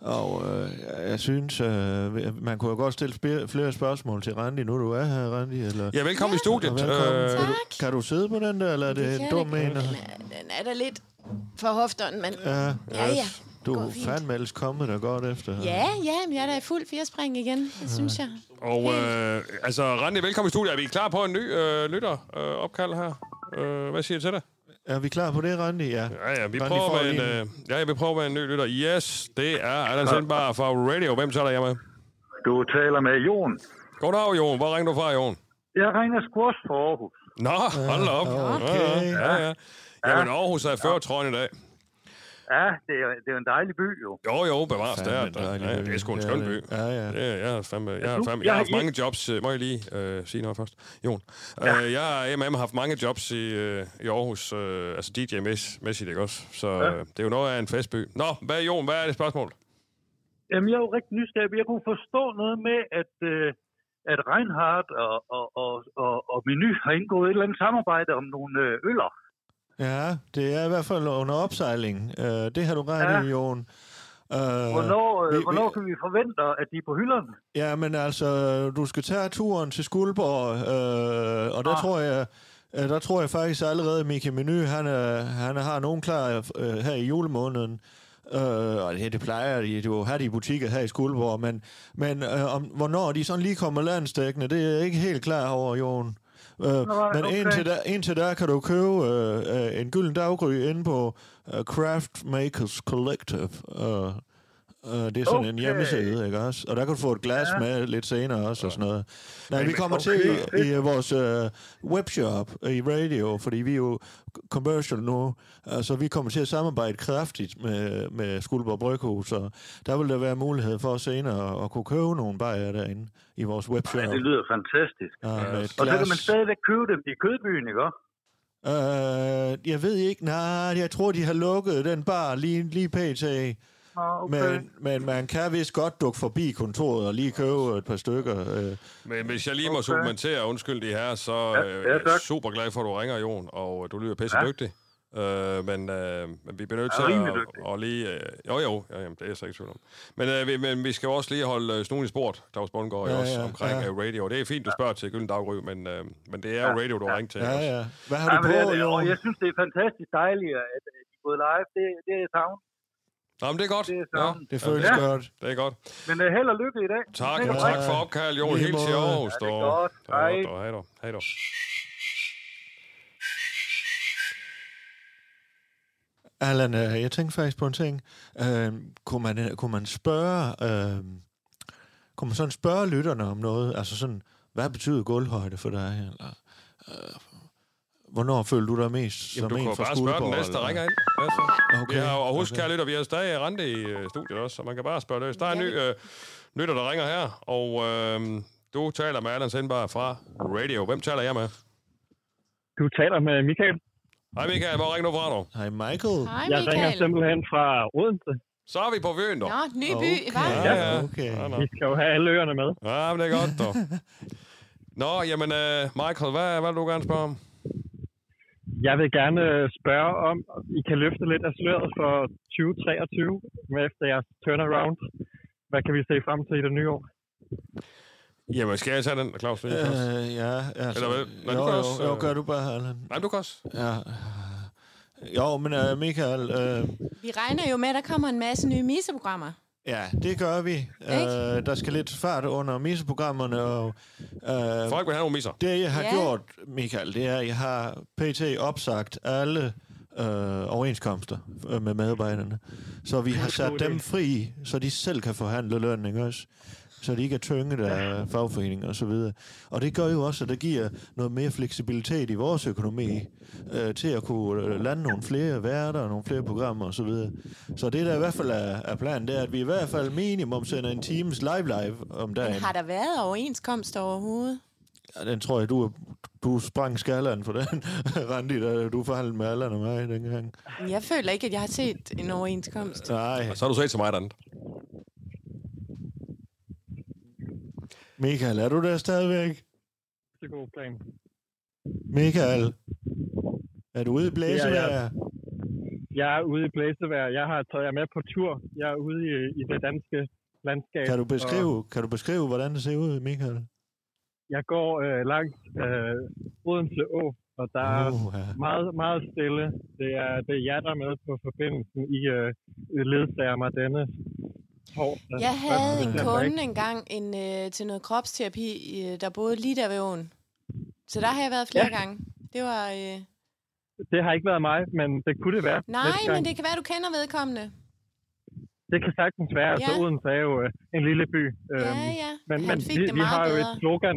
[SPEAKER 4] og øh, jeg- jeg synes, øh, man kunne jo godt stille spe- flere spørgsmål til Randi, nu du er her, Randi. Eller,
[SPEAKER 3] Ja, velkommen i
[SPEAKER 4] Og
[SPEAKER 3] studiet.
[SPEAKER 4] velkommen.
[SPEAKER 3] Øh,
[SPEAKER 4] Kan du- Kan du sidde på den der, eller er det,
[SPEAKER 12] Det
[SPEAKER 4] en
[SPEAKER 12] kan
[SPEAKER 4] dum
[SPEAKER 12] jeg
[SPEAKER 4] en?
[SPEAKER 12] da godt. Den er- Den er da lidt for hofteren, men...
[SPEAKER 4] Ja,
[SPEAKER 12] Ja, ja.
[SPEAKER 4] du
[SPEAKER 12] Går
[SPEAKER 4] er
[SPEAKER 12] fint.
[SPEAKER 4] fandme ellers kommet der godt efter.
[SPEAKER 12] Ja, ja, men jeg er da i fuld firespring igen, det synes jeg.
[SPEAKER 3] og øh, altså, Randi, velkommen i studiet. Er vi klar på en ny øh, lytteropkald øh, opkald her? Øh, hvad siger du til det?
[SPEAKER 4] Er vi klar på det, Randi? Ja.
[SPEAKER 3] Ja, ja, vi
[SPEAKER 4] Randi
[SPEAKER 3] prøver
[SPEAKER 4] får
[SPEAKER 3] med en,
[SPEAKER 4] lige
[SPEAKER 3] øh, ja, vi prøver med en ny lytter. Yes, det er Allan Sindbar fra Radio. Hvem taler jeg med?
[SPEAKER 8] Du taler med Jon.
[SPEAKER 3] Goddag, Jon. Hvor ringer du fra, Jon?
[SPEAKER 8] Jeg ringer sgu også fra Aarhus.
[SPEAKER 3] Nå, hold da op.
[SPEAKER 4] okay.
[SPEAKER 3] Ja, ja. ja. Jamen, Aarhus er før trøjen i dag.
[SPEAKER 8] Ja, det er, det er jo en dejlig by, jo.
[SPEAKER 3] Jo, jo, bevares det
[SPEAKER 4] Fandme
[SPEAKER 3] er.
[SPEAKER 4] en dejlig
[SPEAKER 3] Ja, det er
[SPEAKER 4] by.
[SPEAKER 3] sgu en
[SPEAKER 4] Det
[SPEAKER 3] skøn
[SPEAKER 4] er
[SPEAKER 3] by.
[SPEAKER 4] det. Ja, ja.
[SPEAKER 3] Det er, jeg har fandme, jeg har fandme,
[SPEAKER 8] jeg
[SPEAKER 3] jeg har
[SPEAKER 8] har
[SPEAKER 3] haft mange jobs. øh, Må jeg lige øh, sige noget først? Jon, øh, jeg har MM haft mange jobs i, øh, i Aarhus, øh, altså DJ-mæssigt, ikke også? Så øh, det er jo noget af en festby. Nå, hvad, Jon, hvad er det spørgsmål?
[SPEAKER 8] Jamen, jeg er jo rigtig nysgerrig. men Jeg kunne forstå noget med, at, øh, at Reinhardt og, og, og, og, og Menu har indgået et eller andet samarbejde om nogle øh, øller.
[SPEAKER 4] Ja, det er i hvert fald under opsejling. Uh, det har du ret i, Jon. Uh,
[SPEAKER 8] Hvornår, øh,
[SPEAKER 4] vi- vi-
[SPEAKER 8] hvornår kan vi forvente, at de er på hylderne?
[SPEAKER 4] Ja, men altså, du skal tage turen til Skuldborg, øh, og der ah. tror jeg... øh, Der tror jeg faktisk allerede, Mika Meny, han, er, han har nogen klar øh, her i julemåneden. Øh, og det, det plejer de jo at have de i butikker her i Skuldborg, men, men øh, om, hvornår de sådan lige kommer landstækkende, det er jeg ikke helt klar over, Jon. Øh, men
[SPEAKER 8] okay.
[SPEAKER 4] indtil, der, indtil der kan du købe øh, øh, en gylden daggry inde på øh, Craft Makers Collective. Øh, Øh, det er sådan okay. en
[SPEAKER 8] Okay.
[SPEAKER 4] hjemmeside, ikke også? Og der kan du få et glas ja. med lidt senere også og sådan noget. Nej, vi kommer okay. til
[SPEAKER 8] okay.
[SPEAKER 4] i, i øh, vores øh, webshop øh, i radio, fordi vi er jo commercial nu, øh, så vi kommer til at samarbejde kraftigt med, med Skuldborg Bryghus, og der vil der være mulighed for senere at, at kunne købe nogle bajer derinde i vores webshop.
[SPEAKER 8] Ja, det lyder fantastisk.
[SPEAKER 4] Ja, med et
[SPEAKER 8] Og så kan
[SPEAKER 4] glas.
[SPEAKER 8] man stadigvæk købe dem i kødbyen, ikke også?
[SPEAKER 4] Øh, jeg ved ikke, nej, jeg tror, de har lukket den bar lige, lige pt.
[SPEAKER 13] Nå, okay.
[SPEAKER 4] Men, men man kan vist godt dukke forbi kontoret og lige købe et par stykker. Øh,
[SPEAKER 3] Men hvis jeg lige må okay. supplementere, undskyld de her, så ja,
[SPEAKER 4] ja,
[SPEAKER 3] ja, er
[SPEAKER 4] tak.
[SPEAKER 3] super glad for, at du ringer, Jon, og øh, du lyder pisse
[SPEAKER 4] Ja.
[SPEAKER 3] dygtig. Øh, men, øh, men vi bliver nødt
[SPEAKER 4] Ja,
[SPEAKER 3] til
[SPEAKER 4] rimelig
[SPEAKER 3] at, at lige... Øh, jo, jo, ja, jamen, det er jeg så ikke i tvivl om. Men, øh, vi, men vi skal jo også lige holde øh, snuden i sport, Claus Bundgaard,
[SPEAKER 4] Ja,
[SPEAKER 3] ja, også
[SPEAKER 4] ja,
[SPEAKER 3] omkring
[SPEAKER 4] ja.
[SPEAKER 3] ja. radio. Det er fint, du spørger til Gylden Daggry, men, øh, men det er jo
[SPEAKER 13] Ja,
[SPEAKER 3] radio, du har ringet til.
[SPEAKER 4] ja,
[SPEAKER 3] også.
[SPEAKER 4] ja. Hvad har du
[SPEAKER 13] men det
[SPEAKER 4] på,
[SPEAKER 13] er det, og
[SPEAKER 4] Jon?
[SPEAKER 13] jeg synes, det er fantastisk dejligt, at at de er gået live. Det, det er savnet.
[SPEAKER 3] Nå, men det er godt.
[SPEAKER 13] Det, er
[SPEAKER 3] Ja,
[SPEAKER 13] savnet.
[SPEAKER 4] Det føles ja. godt.
[SPEAKER 3] Det er godt.
[SPEAKER 13] Men uh, held og lykke i dag.
[SPEAKER 3] Tak,
[SPEAKER 13] Held
[SPEAKER 3] ja,
[SPEAKER 13] og
[SPEAKER 3] tak
[SPEAKER 13] lykke.
[SPEAKER 3] for opkald, Jon.
[SPEAKER 13] Lige
[SPEAKER 3] Helt til
[SPEAKER 13] måde.
[SPEAKER 3] Aarhus.
[SPEAKER 13] Ja, det er
[SPEAKER 3] dog.
[SPEAKER 13] godt.
[SPEAKER 3] Det er
[SPEAKER 13] Hej.
[SPEAKER 3] godt, dog. Hej dog. Hej dog.
[SPEAKER 4] Allan, øh, jeg tænkte faktisk på en ting. Øh, kunne, man, kunne man spørge... Øh, kunne man sådan spørge lytterne om noget? Altså sådan, hvad betyder gulvhøjde for dig? Eller, øh, hvornår føler du dig mest
[SPEAKER 3] Jamen,
[SPEAKER 4] som
[SPEAKER 3] du
[SPEAKER 4] en
[SPEAKER 3] kan jo
[SPEAKER 4] fra
[SPEAKER 3] bare spørge den
[SPEAKER 4] Skuldborg,
[SPEAKER 3] næste, der
[SPEAKER 4] eller?
[SPEAKER 3] ringer ind. Ja, så.
[SPEAKER 4] Okay,
[SPEAKER 3] Okay. Ja, og husk, okay.
[SPEAKER 4] okay.
[SPEAKER 3] kære lytter, vi har stadig Randi i øh, studiet også, så man kan bare spørge løs. Der er en ny øh, lytter, der ringer her, og øh, du taler med Allan Sindbar fra Radio. Hvem taler jeg med?
[SPEAKER 14] Du taler med Michael.
[SPEAKER 3] Hej Michael, hvor ringer du fra nu?
[SPEAKER 4] Hej Michael.
[SPEAKER 12] Hej,
[SPEAKER 14] jeg ringer simpelthen fra Odense.
[SPEAKER 3] Så er vi på Vøen, dog.
[SPEAKER 12] Nå, ny by, okay. hva'?
[SPEAKER 3] Ja, ja.
[SPEAKER 4] Okay.
[SPEAKER 3] Ja, nå.
[SPEAKER 14] Vi skal jo have alle øerne med.
[SPEAKER 3] ja, men det er godt, dog. Nå, jamen øh, Michael, hvad, hvad vil du gerne spørge om?
[SPEAKER 14] Jeg vil gerne øh, spørge om, om I kan løfte lidt af sløret for 2023 med efter jeres turnaround. Hvad kan vi se frem til i det nye år?
[SPEAKER 3] Jamen, skal jeg tage den, Claus? Øh,
[SPEAKER 4] Øh, ja, altså,
[SPEAKER 3] Eller hvad? Nej,
[SPEAKER 4] jo,
[SPEAKER 3] du kan
[SPEAKER 4] jo,
[SPEAKER 3] også,
[SPEAKER 4] jo,
[SPEAKER 3] øh,
[SPEAKER 4] gør du bare, Allan.
[SPEAKER 3] Nej, du kan også.
[SPEAKER 4] Ja. Jo, men øh, Michael, øh,
[SPEAKER 12] Vi regner jo med, at der kommer en masse nye miseprogrammer.
[SPEAKER 4] ja, det gør vi. Øh, der skal lidt fart under miseprogrammerne, og... Øh,
[SPEAKER 3] Folk vil have nogle misser.
[SPEAKER 4] Det, jeg har
[SPEAKER 12] Ja.
[SPEAKER 4] ja. gjort, Michael, det er, at jeg har pt. opsagt alle øh, overenskomster øh, med medarbejderne. Så vi har sat dem fri, så de selv kan forhandle løn, ikke også? Så de ikke er tynget af fagforeninger og så videre. Og det gør jo også, at det giver noget mere fleksibilitet i vores økonomi øh, til at kunne øh, lande nogle flere værter og nogle flere programmer og så videre. Så det der i hvert fald er, er planen, det er, at vi i hvert fald minimum sender en times live-live om dagen.
[SPEAKER 12] Men har der været overenskomster overhovedet?
[SPEAKER 4] Ja, den tror jeg, du, du sprang skalleren for den, Randi, da du forhandlede med Allan og mig dengang.
[SPEAKER 12] Men Jeg føler ikke, at jeg har set en overenskomst.
[SPEAKER 4] Nej.
[SPEAKER 3] Og så har du sagt til mig et andet.
[SPEAKER 4] Michael, er du der stadigvæk?
[SPEAKER 14] Det er god plan.
[SPEAKER 4] Michael, er du ude i blæsevejr?
[SPEAKER 14] Det er jeg. Jeg er ude i blæsevejr. Jeg har taget jer med på tur. Jeg er ude i, i det danske landskab.
[SPEAKER 4] Kan du
[SPEAKER 14] og-
[SPEAKER 4] beskrive, kan du beskrive, hvordan det ser ud, Michael?
[SPEAKER 14] Jeg går øh, langs øh, Odense Å, og der er
[SPEAKER 4] Uha.
[SPEAKER 14] meget, meget stille. Det er, det er jer, der er med på forbindelsen. I øh, ledsager mig denne torsdag.
[SPEAKER 12] Jeg havde en
[SPEAKER 14] Første
[SPEAKER 12] kunde
[SPEAKER 14] december, ikke?
[SPEAKER 12] engang en, øh, til noget kropsterapi, øh, der boede lige der ved åen. Så der har jeg været flere
[SPEAKER 14] Ja.
[SPEAKER 12] ja. gange. Det var... Øh...
[SPEAKER 14] Det har ikke været mig, men det kunne det være.
[SPEAKER 12] Nej,
[SPEAKER 14] næste gang.
[SPEAKER 12] men det kan være, du kender vedkommende.
[SPEAKER 14] Det kan sagtens være, altså
[SPEAKER 12] Ja.
[SPEAKER 14] Odense er jo øh, en lille by. Øh,
[SPEAKER 12] Ja, ja.
[SPEAKER 14] Men,
[SPEAKER 12] Han
[SPEAKER 14] men
[SPEAKER 12] fik
[SPEAKER 14] vi,
[SPEAKER 12] det
[SPEAKER 14] vi
[SPEAKER 12] meget
[SPEAKER 14] har jo et
[SPEAKER 12] bedre.
[SPEAKER 14] slogan,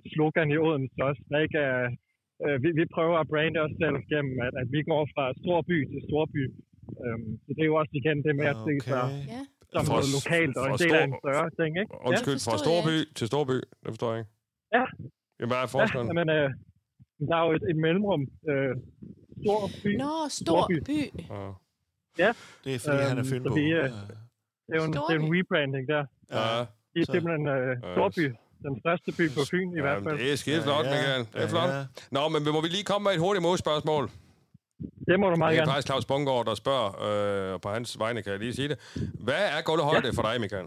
[SPEAKER 14] et slogan i Odense også, der ikke er... Øh, vi, vi prøver at brande os selv gennem, at, at vi går fra stor by til stor by. Øhm, så det er jo også igen det med at se sig
[SPEAKER 12] Ja.
[SPEAKER 14] som
[SPEAKER 3] Fra
[SPEAKER 14] noget
[SPEAKER 3] s-
[SPEAKER 14] lokalt og en
[SPEAKER 3] fra
[SPEAKER 14] del af
[SPEAKER 3] stor-
[SPEAKER 14] en større ting, ikke?
[SPEAKER 3] Undskyld, fra Storby til Storby. Det forstår jeg ikke.
[SPEAKER 14] Ja.
[SPEAKER 3] Jamen, hvad er
[SPEAKER 14] Ja,
[SPEAKER 3] forskellen?
[SPEAKER 14] men øh, der er jo et, et mellemrum. Øh, stor by.
[SPEAKER 12] Nå, stor by.
[SPEAKER 3] Ja.
[SPEAKER 14] Ja.
[SPEAKER 4] Det er, fordi han er
[SPEAKER 14] Øhm,
[SPEAKER 4] fynbo.
[SPEAKER 14] så vi, øh, det, er jo en, det er jo en rebranding der.
[SPEAKER 4] Ja.
[SPEAKER 14] Det er
[SPEAKER 4] Så-
[SPEAKER 14] simpelthen øh, Storby. Den største by på Fyn i hvert fald.
[SPEAKER 3] Det er skide flot, Michael. Det er flot. Nå, men må vi lige komme med et hurtigt modspørgsmål?
[SPEAKER 14] Det må du meget
[SPEAKER 3] Det er
[SPEAKER 14] gerne.
[SPEAKER 3] faktisk Claus Bungård, der spørger, øh, og på hans vegne kan jeg lige sige det. Hvad er gulvhøjde for dig, Michael?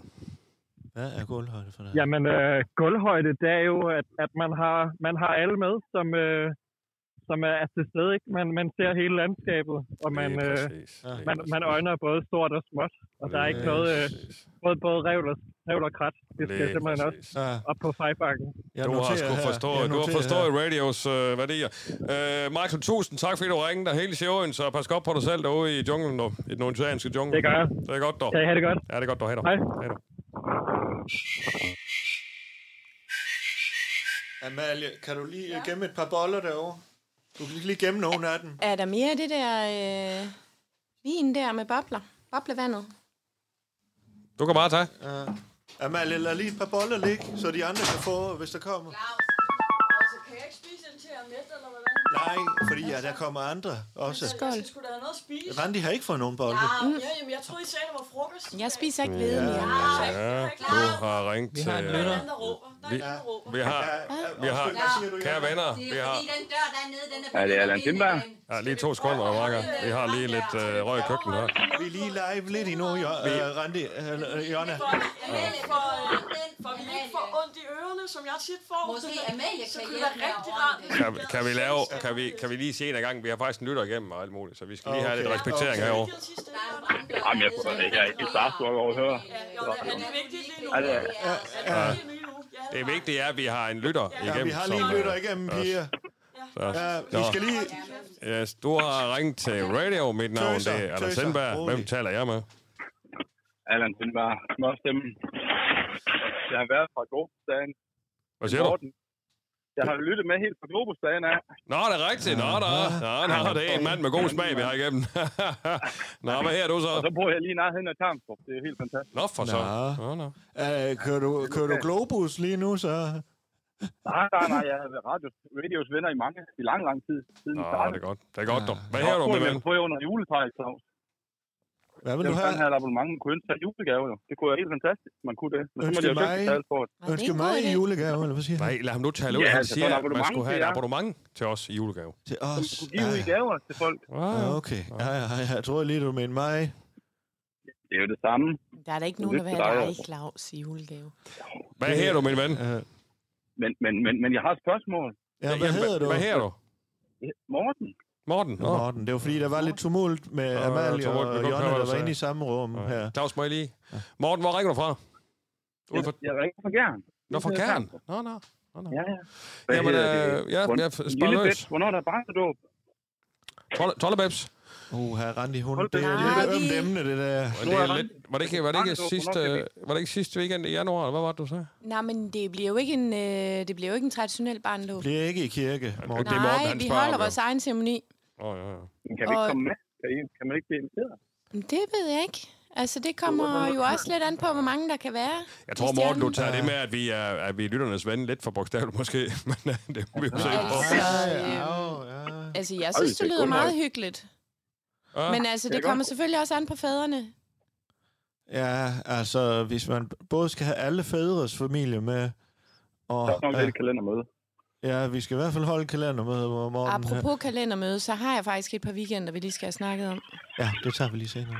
[SPEAKER 4] Hvad er gulvhøjde for dig?
[SPEAKER 14] Jamen, øh, gulvhøjde, det er jo, at, at man, har, man har alle med, som, øh, som er er til stede. Ikke? Man, man ser hele landskabet, og man,
[SPEAKER 13] Lige
[SPEAKER 14] øh,
[SPEAKER 13] præcis. Lige
[SPEAKER 14] man, man øjner både stort og småt. Og der er ikke
[SPEAKER 13] Lige
[SPEAKER 14] noget, øh, både, både revl, og, revl og krat. Det skal
[SPEAKER 3] Lige
[SPEAKER 14] simpelthen også op på fejbakken.
[SPEAKER 3] du har sgu forstået, du har forstået radios øh, værdier. Øh, Michael, tusind tak, fordi du ringede dig hele sjovt, så pas godt på dig selv derude i junglen, dog. i den oceanske jungle.
[SPEAKER 14] Det gør jeg.
[SPEAKER 3] Det er godt, dog.
[SPEAKER 14] Kan I have det godt?
[SPEAKER 3] Ja, det er godt, dog. Hej, dog.
[SPEAKER 14] Hej.
[SPEAKER 3] Hej dog.
[SPEAKER 4] Amalie, kan du lige ja. gemme et par boller derovre? Du kan lige gemme nogle af dem.
[SPEAKER 12] Er der mere af det der øh, vin der med bobler? Boblevandet?
[SPEAKER 3] Du kan bare tage.
[SPEAKER 4] Uh, Amalie, lad lige et par boller ligge, så de andre kan få, hvis der kommer.
[SPEAKER 9] Altså, kan jeg ikke spise en til jer med, eller hvordan?
[SPEAKER 4] Nej, fordi ja, der kommer andre også.
[SPEAKER 9] Skål. Skulle der have noget at spise?
[SPEAKER 4] Randi har ikke fået nogen Mm. bolle.
[SPEAKER 9] Ja, ja, jamen, jeg troede, I sagde, det var frokost.
[SPEAKER 12] Jeg spiser ikke
[SPEAKER 4] Ja.
[SPEAKER 12] hvede mere.
[SPEAKER 3] Ja, du har ringet
[SPEAKER 5] Vi har en
[SPEAKER 3] til...
[SPEAKER 5] lytter.
[SPEAKER 3] øh, Vi, vi har, vi har, kære venner, vi har...
[SPEAKER 6] Fordi den dør dernede, den er...
[SPEAKER 3] Ja, det er Allan Tindberg. Ja, lige to sekunder, Marker. Vi har lige lidt øh, røg i køkkenet her.
[SPEAKER 4] Vi er lige live lidt endnu, jo, øh, Randi, øh, Jonna.
[SPEAKER 9] Amalie får, øh, får vi ikke for ondt i ørerne, som jeg tit får.
[SPEAKER 6] Måske
[SPEAKER 9] Det-
[SPEAKER 6] Amalie
[SPEAKER 9] så
[SPEAKER 6] kan
[SPEAKER 9] kunne det være
[SPEAKER 6] hjælpe
[SPEAKER 9] rigtig
[SPEAKER 6] med at
[SPEAKER 9] rart. hvis
[SPEAKER 3] Kan,
[SPEAKER 9] vi gad
[SPEAKER 3] kan, vi
[SPEAKER 9] at
[SPEAKER 3] lave,
[SPEAKER 9] ses.
[SPEAKER 3] kan, vi, kan vi lige se en gang? Vi har faktisk en lytter igennem og alt muligt, så vi skal lige have lidt
[SPEAKER 11] Okay.
[SPEAKER 3] respektering
[SPEAKER 11] Okay.
[SPEAKER 3] herovre.
[SPEAKER 11] Jamen, jeg, jeg er ikke starstruck over at høre.
[SPEAKER 9] Er det vigtigt lige nu?
[SPEAKER 3] Ja, det er-
[SPEAKER 9] Er
[SPEAKER 3] Ja.
[SPEAKER 9] det vigtigt lige nu? Ja.
[SPEAKER 3] Det vigtige er, at vi har en lytter igennem.
[SPEAKER 4] Ja, vi har lige
[SPEAKER 3] som,
[SPEAKER 4] en
[SPEAKER 3] øh,
[SPEAKER 4] lytter igennem,
[SPEAKER 3] også-
[SPEAKER 4] piger.
[SPEAKER 3] Så-
[SPEAKER 4] Ja,
[SPEAKER 3] Nå.
[SPEAKER 4] vi skal lige...
[SPEAKER 3] Yes, du har ringet til radio. Mit navn
[SPEAKER 11] Tøser,
[SPEAKER 3] det er Anders
[SPEAKER 11] tøser.
[SPEAKER 3] Sindberg. Hvem
[SPEAKER 11] Rolig.
[SPEAKER 3] taler jeg med?
[SPEAKER 11] Allan Tindberg, småstemmen. Jeg har været fra Globusdagen.
[SPEAKER 3] Hvad siger du?
[SPEAKER 11] Jeg har lyttet med helt fra Globusdagen af.
[SPEAKER 3] Nå, det er rigtigt. Nå, der, nå, nå, det er en mand med god smag, vi har igennem. nå, hvad her du
[SPEAKER 11] Og så
[SPEAKER 3] så?
[SPEAKER 11] bor jeg lige nærheden af Tarmstrup. Det er jo helt fantastisk.
[SPEAKER 3] Nå, for så.
[SPEAKER 4] Nå.
[SPEAKER 3] Nå, nå.
[SPEAKER 4] Øh, kører, du, kører du Globus lige nu, så?
[SPEAKER 11] Nej, nej, nej. Jeg har været radio, radios venner i mange, i lang, lang tid. Siden
[SPEAKER 3] Nå,
[SPEAKER 11] vi startede.
[SPEAKER 3] det er godt. Det er godt, dog. Hvad
[SPEAKER 11] Jeg
[SPEAKER 3] her
[SPEAKER 11] har
[SPEAKER 3] du,
[SPEAKER 11] spurgt,
[SPEAKER 3] min
[SPEAKER 11] om
[SPEAKER 3] ven?
[SPEAKER 11] jeg kunne få jer under juletræet, Claus.
[SPEAKER 4] Hvad
[SPEAKER 11] vil
[SPEAKER 4] du
[SPEAKER 11] Jeg
[SPEAKER 4] have?
[SPEAKER 11] ville gerne have et abonnement, man kunne ønske sig i julegave. Jo. Det kunne være helt fantastisk, man kunne det. Men så må
[SPEAKER 4] Ønske
[SPEAKER 11] det jo dygtigt
[SPEAKER 4] mig-
[SPEAKER 11] betale for det.
[SPEAKER 4] Ønsker mig i julegave, eller hvad siger du?
[SPEAKER 3] Nej, lad ham nu tale ud.
[SPEAKER 11] Ja,
[SPEAKER 3] Han
[SPEAKER 11] altså,
[SPEAKER 3] siger,
[SPEAKER 11] sådan et
[SPEAKER 3] at man skulle have et
[SPEAKER 11] abonnement,
[SPEAKER 3] abonnement til os i julegave.
[SPEAKER 4] Til
[SPEAKER 11] Som
[SPEAKER 4] os?
[SPEAKER 11] du kunne give ud i gaver til folk.
[SPEAKER 3] Ah,
[SPEAKER 4] Ja, Ah, okay. Ja, ja, jeg tror lige, du mente mig.
[SPEAKER 11] Det er jo det samme.
[SPEAKER 12] Der er da ikke nogen, der vil
[SPEAKER 11] Det er
[SPEAKER 12] have
[SPEAKER 11] dig,
[SPEAKER 12] dig, Claus, i julegave.
[SPEAKER 3] Hvad her du, min ven?
[SPEAKER 4] Øh,
[SPEAKER 11] Men, men, men, men jeg har et spørgsmål.
[SPEAKER 4] Ja, hvad hedder du?
[SPEAKER 3] Hvad her du?
[SPEAKER 11] Morten.
[SPEAKER 3] Morten? Nå.
[SPEAKER 4] Morten, det var fordi, der var lidt tumult med
[SPEAKER 3] Nå,
[SPEAKER 4] Amalie
[SPEAKER 3] tumult,
[SPEAKER 4] og
[SPEAKER 3] vi kunne
[SPEAKER 4] Jonna,
[SPEAKER 3] høre, hvad
[SPEAKER 4] der
[SPEAKER 3] du
[SPEAKER 4] var
[SPEAKER 3] sagde.
[SPEAKER 4] inde i samme rum her.
[SPEAKER 3] Claus, må jeg lige? Morten, hvor ringer du fra? Ude for...
[SPEAKER 11] Jeg ringer fra Gern.
[SPEAKER 3] Nå, fra Kern. Nå, nå.
[SPEAKER 11] Ja, ja.
[SPEAKER 3] Jamen, øh, ja, jeg spørger
[SPEAKER 11] Lille
[SPEAKER 3] løs.
[SPEAKER 11] Bæt, hvornår er der er barnedåb?
[SPEAKER 3] Tollebabs.
[SPEAKER 4] Uh, her Randi, hun, det er lidt ømt emne, det der.
[SPEAKER 3] Men det er lidt, var det ikke, var det ikke sidste, var det ikke sidste weekend i januar, eller hvad var det, du sagde?
[SPEAKER 12] Nej, men det bliver jo ikke en, øh, det bliver jo ikke en traditionel barndåb.
[SPEAKER 4] Det er ikke i kirke, Morten.
[SPEAKER 12] Nej, vi holder vores egen ceremoni.
[SPEAKER 3] Åh, ja, ja.
[SPEAKER 11] Kan vi ikke
[SPEAKER 12] Og-
[SPEAKER 11] komme med? Kan, I, kan man ikke blive inviteret?
[SPEAKER 12] Men Det ved jeg ikke. Altså, det kommer jo også lidt an på, hvor mange der kan være.
[SPEAKER 3] Jeg tror,
[SPEAKER 12] i
[SPEAKER 3] Morten, du
[SPEAKER 12] stjernen.
[SPEAKER 3] tager det med, at vi er, at vi er lytternes ven lidt for bogstaveligt måske, men øh, det må vi jo se på.
[SPEAKER 12] Altså, jeg
[SPEAKER 3] Ej,
[SPEAKER 12] synes,
[SPEAKER 3] det
[SPEAKER 12] det
[SPEAKER 3] er
[SPEAKER 12] lyder
[SPEAKER 3] godt nok. Ah,
[SPEAKER 12] meget hyggeligt.
[SPEAKER 3] Ja.
[SPEAKER 12] Men altså, det kommer selvfølgelig også an på fædrene.
[SPEAKER 4] Ja, altså, hvis man både skal have alle fædres familie med, og...
[SPEAKER 11] Der er nok
[SPEAKER 4] øh,
[SPEAKER 11] lidt et kalendermøde.
[SPEAKER 4] Ja, vi skal i hvert fald holde kalendermøde, hvor Morten...
[SPEAKER 12] Apropos kalendermøde, så har jeg faktisk et par weekender, vi lige skal have snakket om.
[SPEAKER 4] Ja, det tager vi lige senere.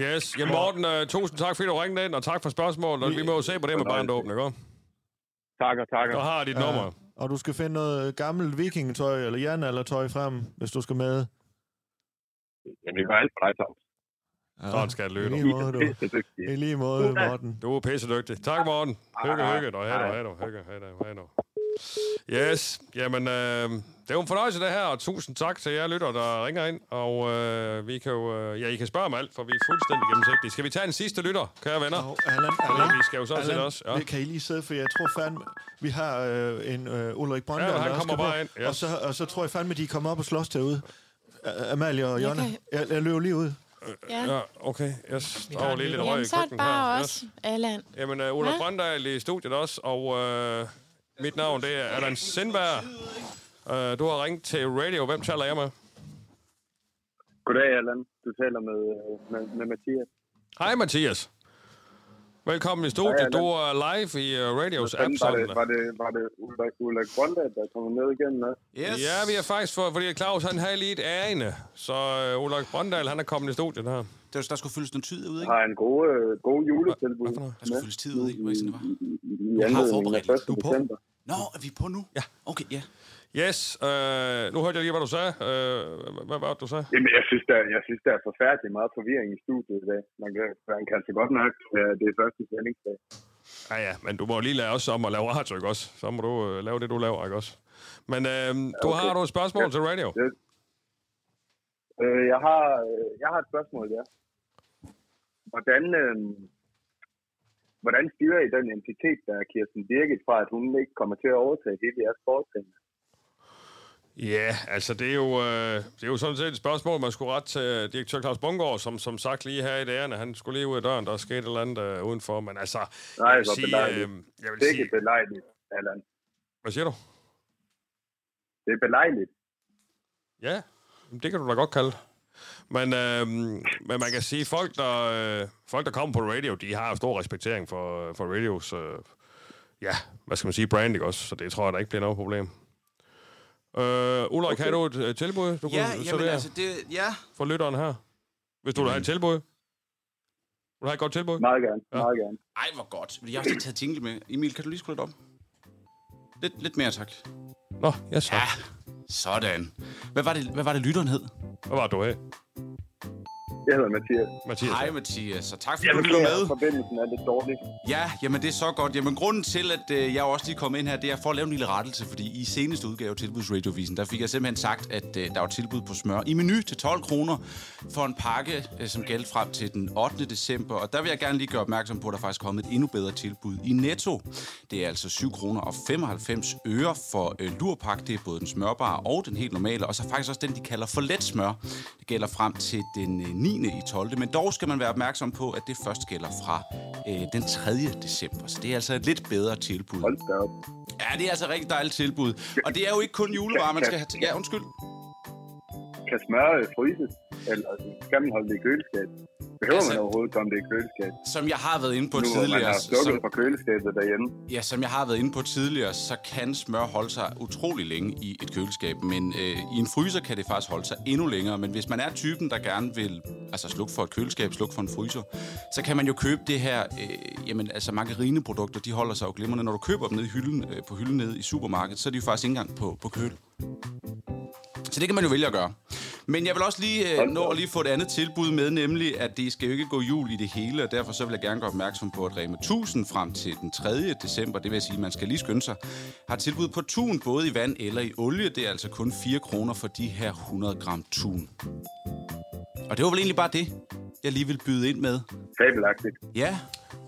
[SPEAKER 3] Yes, ja, Morten, øh, tusind tak, fordi du ringede ind, og tak for spørgsmålet, og vi må jo se på det med barndåben, ikke?
[SPEAKER 11] Takker, takker.
[SPEAKER 3] Så har jeg dit
[SPEAKER 4] Ja,
[SPEAKER 3] nummer.
[SPEAKER 4] Og du skal finde noget gammelt vikingetøj eller jernaldertøj frem, hvis du skal med.
[SPEAKER 11] Jamen, vi gør alt for dig, Claus.
[SPEAKER 3] Sådan skal det
[SPEAKER 4] I
[SPEAKER 3] lyde.
[SPEAKER 4] lige måde, du. I lige måde, Morten.
[SPEAKER 3] Du er pissedygtig. Tak, Morten. Hygge,
[SPEAKER 4] Hej.
[SPEAKER 3] hygge. Nå, hej, hej, hygge, hej, hej, Yes, jamen, øh, det er jo en fornøjelse, det her, og tusind tak til jer lytter, der ringer ind, og øh, vi kan jo, øh, ja, I kan spørge om alt, for vi er fuldstændig gennemsigtige. Skal vi tage en sidste lytter, kære venner?
[SPEAKER 4] Jo, Allan,
[SPEAKER 3] Fordi
[SPEAKER 4] Allan,
[SPEAKER 3] vi skal jo sådan set også, ja.
[SPEAKER 4] vi- Kan I lige sidde, for jeg tror fandme... Vi har øh, en øh, Ulrik Brøndal,
[SPEAKER 3] Ja, han
[SPEAKER 4] der også
[SPEAKER 3] kommer
[SPEAKER 4] skal
[SPEAKER 3] bare
[SPEAKER 4] på,
[SPEAKER 3] ind, ja.
[SPEAKER 4] Og, så, og så tror jeg fandme, de kommer op og slås derude. A- Amalie og Jonna.
[SPEAKER 12] kan-
[SPEAKER 4] Jeg, jeg løber lige ud.
[SPEAKER 12] Ja.
[SPEAKER 3] Ja, okay. Yes. Der var lige lidt røg i
[SPEAKER 12] Jamen, så er det
[SPEAKER 3] køkkenet her.
[SPEAKER 12] bare
[SPEAKER 3] Yes.
[SPEAKER 12] os, Allan.
[SPEAKER 3] Jamen, uh, Ulla
[SPEAKER 12] Hva?
[SPEAKER 3] Brøndal i studiet også, og øh, mit navn det er Allan Sindberg. Øh, du har ringet til radio. Hvem taler jeg med?
[SPEAKER 11] Goddag, Allan. Du taler med, øh, med, med Mathias.
[SPEAKER 3] Hej, Mathias. Velkommen i
[SPEAKER 11] Hej,
[SPEAKER 3] studiet.
[SPEAKER 11] Allan.
[SPEAKER 3] Du er live i uh, radios
[SPEAKER 11] Hvordan
[SPEAKER 3] app.
[SPEAKER 11] var det,
[SPEAKER 3] sådan.
[SPEAKER 11] var det, var det Ulrik, Ulrik Brøndal, der kom ned igen med?
[SPEAKER 3] Yes. Ja, vi er faktisk for, fordi Claus han havde lige et ærende, så uh, Ulrik Brøndal han er kommet i studiet her.
[SPEAKER 15] Det var, der skulle fyldes noget tid ud, ikke?
[SPEAKER 11] Har en god, øh, god juletilbud.
[SPEAKER 15] Der skulle fyldes Altså, tid ud, ikke? Var ikke sådan, det var? Du
[SPEAKER 11] I
[SPEAKER 15] har
[SPEAKER 11] anledning af
[SPEAKER 15] forberedt.
[SPEAKER 11] 1.
[SPEAKER 15] Du er på.
[SPEAKER 11] december.
[SPEAKER 15] Nå, er vi på nu? Ja. Okay, ja.
[SPEAKER 3] Yes, øh, nu hørte jeg lige, hvad du sagde. Øh, hvad, hvad var det, du sagde?
[SPEAKER 11] Jamen, jeg synes, der, jeg synes, der er forfærdelig meget forvirring i studiet i dag. Man kan, man kan altså godt mærke, at det er første sendingsdag.
[SPEAKER 3] Ja, ja, men du må jo lige lade os om at lave radio, ikke også? Så må du øh, lave det, du laver, ikke også? Men øh, du
[SPEAKER 11] okay.
[SPEAKER 3] har du et spørgsmål
[SPEAKER 11] Ja.
[SPEAKER 3] til radio?
[SPEAKER 11] Ja. Øh, jeg, har, øh, jeg har et spørgsmål, ja. Hvordan, øh, hvordan styrer I den entitet, der er Kirsten Birgit, fra at hun ikke kommer til at overtage hele jeres foretagende?
[SPEAKER 3] Ja, altså det er, jo, øh, det er jo sådan set et spørgsmål, man skulle ret til direktør Claus Bungård, som som sagt lige her i dagerne, han skulle lige ud af døren, der skete et eller andet øh, udenfor, men altså,
[SPEAKER 11] Nej,
[SPEAKER 3] jeg vil
[SPEAKER 11] hvor
[SPEAKER 15] øh,
[SPEAKER 3] sige,
[SPEAKER 11] belejligt.
[SPEAKER 3] øh, jeg vil
[SPEAKER 11] Det er
[SPEAKER 3] sige,
[SPEAKER 11] ikke belejligt, Allan.
[SPEAKER 3] hvad siger du?
[SPEAKER 11] Det er belejligt.
[SPEAKER 3] Ja, det kan du da godt kalde. Men, øh, men man kan sige, folk der, øh, folk, der kommer på radio, de har jo stor respektering for, for radios, øh, ja, hvad skal man sige, brand, ikke også? Så det tror jeg, der ikke bliver noget problem. Øh, Ulrik, okay. har du et øh, tilbud,
[SPEAKER 15] Ja,
[SPEAKER 3] du kunne
[SPEAKER 15] jamen
[SPEAKER 3] servere
[SPEAKER 15] altså, det, ja.
[SPEAKER 3] for lytteren her? Hvis du vil have et tilbud. Vil du have et godt tilbud?
[SPEAKER 11] Meget gerne,
[SPEAKER 3] ja.
[SPEAKER 11] meget gerne.
[SPEAKER 15] Ej, hvor godt. Jeg har også lige taget jingle med. Emil, kan du lige skrue lidt op? Lidt, lidt mere, tak.
[SPEAKER 3] Nå, jeg så. Ja,
[SPEAKER 15] sådan. Hvad var det, hvad var det lytteren hed?
[SPEAKER 3] Hvad var du af?
[SPEAKER 11] Jeg hedder Mathias.
[SPEAKER 3] Mathias.
[SPEAKER 15] Hej, Mathias, og tak fordi
[SPEAKER 11] Jeg
[SPEAKER 15] du lyttede
[SPEAKER 11] beklager,
[SPEAKER 15] med.
[SPEAKER 11] Forbindelsen er lidt dårlig.
[SPEAKER 15] Ja, jamen det er så godt. Jamen grunden til, at øh, jeg også lige kom ind her, det er for at lave en lille rettelse, fordi i seneste udgave af Tilbudsradiovisen, der fik jeg simpelthen sagt, at øh, der var tilbud på smør i menu til 12 kroner for en pakke, øh, som galt frem til den 8. december. Og der vil jeg gerne lige gøre opmærksom på, at der er faktisk kommet et endnu bedre tilbud i Netto. Det er altså 7 kroner og 95 øre for øh, lurpak. Det er både den smørbare og den helt normale, og så faktisk også den, de kalder for let smør. Det gælder frem til den øh, 9. i 12. Men dog skal man være opmærksom på, at det først gælder fra øh, den 3. december. Så det er altså et lidt bedre tilbud. Hold
[SPEAKER 11] da op.
[SPEAKER 15] Ja, det er altså et rigtig dejligt tilbud. Og det er jo ikke kun julevarer, man skal have til. Ja, undskyld.
[SPEAKER 11] Kan smøre øh, fryses? Eller skal man holde det i køleskab? Behøver
[SPEAKER 15] Altså-
[SPEAKER 11] man overhovedet komme det i køleskab?
[SPEAKER 15] Som jeg har været inde på
[SPEAKER 11] nu, hvor man
[SPEAKER 15] tidligere,
[SPEAKER 11] har
[SPEAKER 15] så-
[SPEAKER 11] slukket for køleskabet derhjemme.
[SPEAKER 15] Ja, som jeg har været inde på tidligere, så kan smør holde sig utrolig længe i et køleskab, men øh, i en fryser kan det faktisk holde sig endnu længere. Men hvis man er typen, der gerne vil altså slukke for et køleskab, slukke for en fryser, så kan man jo købe det her, øh, jamen altså margarineprodukter, de holder sig jo glimrende. Når du køber dem nede i hylden, øh, på hylden nede i supermarkedet, så er de jo faktisk ikke engang på, på køl. Så det kan man jo vælge at gøre. Men jeg vil også lige øh, nå at lige få et andet tilbud med, nemlig at det skal jo ikke gå jul i det hele, og derfor så vil jeg gerne gøre opmærksom på, at Rema 1000 frem til den 3. december, det vil sige, at man skal lige skynde sig, har tilbud på tun både i vand eller i olie. Det er altså kun 4 kroner for de her 100 gram tun. Og det var vel egentlig bare det, jeg lige vil byde ind med.
[SPEAKER 11] Fabelagtigt.
[SPEAKER 15] Ja.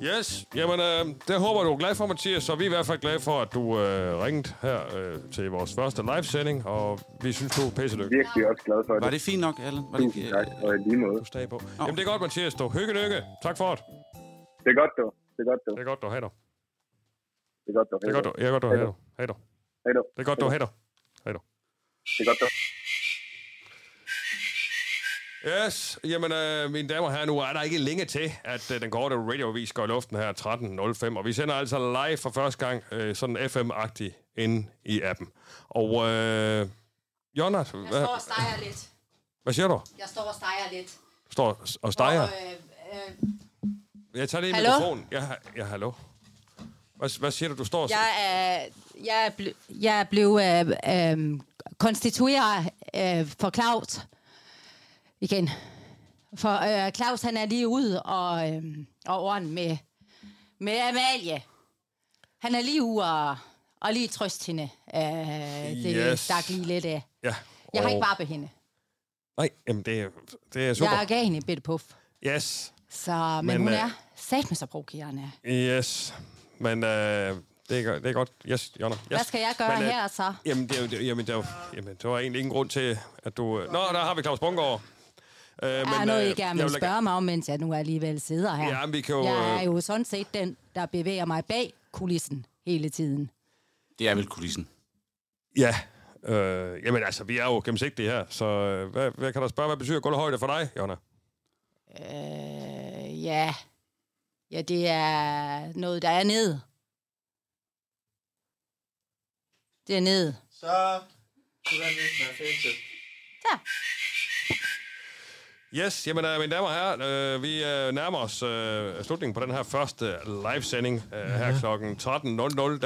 [SPEAKER 3] Yes, jamen øh, det håber du er glad for, Mathias, og vi er i hvert fald glade for, at du øh, ringede her øh, til vores første livesending, og vi synes, du er pisse lykke.
[SPEAKER 11] Virkelig også glad for det.
[SPEAKER 15] Var det øh, fint nok, Allan? Var
[SPEAKER 11] Tusind tak, og i lige måde.
[SPEAKER 3] Stag på. Jamen det er godt, Mathias, du. Hygge lykke. Tak for det.
[SPEAKER 11] Det er godt, du. Det er godt, du.
[SPEAKER 3] Det er godt, du. Hej dig.
[SPEAKER 11] Det er godt, du.
[SPEAKER 3] Det er godt, du. Jeg er godt, du. Hej dig. Hej dig.
[SPEAKER 11] Hej dig.
[SPEAKER 3] Det er godt, du. Hej dig. Hej dig.
[SPEAKER 11] Det er godt, du.
[SPEAKER 3] Yes, jamen øh, mine damer og herrer, nu er der ikke længe til, at øh, den korte radiovis går i luften her 13.05, og vi sender altså live for første gang, øh, sådan FM-agtig, inde i appen. Og øh, Jonas,
[SPEAKER 6] Jeg
[SPEAKER 3] hvad,
[SPEAKER 6] står og steger lidt.
[SPEAKER 3] hvad siger du?
[SPEAKER 6] Jeg står og steger lidt.
[SPEAKER 3] Står og steger?
[SPEAKER 6] Og, øh, øh,
[SPEAKER 3] Jeg tager lige
[SPEAKER 16] Hallo?
[SPEAKER 3] mikrofonen. Ja, ha- ja, hallo. Hvad, hvad siger du, du står og...
[SPEAKER 16] Jeg er, jeg er, ble, jeg er blevet øh, øh, konstitueret øh, for Claus igen. For øh, Claus, han er lige ude og, øh, og ordne med, med Amalie. Han er lige ude og, og lige trøst hende. Øh, det
[SPEAKER 3] Yes.
[SPEAKER 16] stak lige lidt af.
[SPEAKER 3] Ja.
[SPEAKER 16] Jeg har
[SPEAKER 3] og-
[SPEAKER 16] ikke bare på hende.
[SPEAKER 3] Nej, jamen det er, det er super.
[SPEAKER 16] Jeg gav hende et bitte puff.
[SPEAKER 3] Yes,
[SPEAKER 16] Så, men,
[SPEAKER 3] Men,
[SPEAKER 16] men hun
[SPEAKER 3] øh,
[SPEAKER 16] er satme så provokerende.
[SPEAKER 3] yes. Men øh, det, er, godt- det er godt. Yes, Jonna. Yes.
[SPEAKER 16] Hvad skal jeg gøre
[SPEAKER 3] Men, øh,
[SPEAKER 16] her så?
[SPEAKER 3] Jamen, det er, jo- det, jamen, der, jamen, der var egentlig ingen grund til, at du... øh- Nå, der har vi Claus Bungård. Øh,
[SPEAKER 16] Men, er noget, I gerne
[SPEAKER 3] jeg
[SPEAKER 16] vil
[SPEAKER 3] da-
[SPEAKER 16] spørge mig om, mens jeg nu alligevel sidder her.
[SPEAKER 3] Ja, men vi kan jo,
[SPEAKER 16] Jeg er
[SPEAKER 3] øh,
[SPEAKER 16] jo sådan set den, der bevæger mig bag kulissen hele tiden.
[SPEAKER 15] Det er vel kulissen.
[SPEAKER 3] Ja. Øh, jamen altså, vi er jo gennemsigtige her, så øh, hvad, hvad kan der spørge, hvad betyder gulvhøjde for dig, Jonna?
[SPEAKER 16] Øh, ja. ja, det er noget, der er ned. Det er ned.
[SPEAKER 17] Så kunne den ikke være fikset.
[SPEAKER 3] Yes, jamen øh, mine damer og herrer, øh, vi øh, nærmer os øh, slutningen på den her første livesending øh, her klokken 13.00.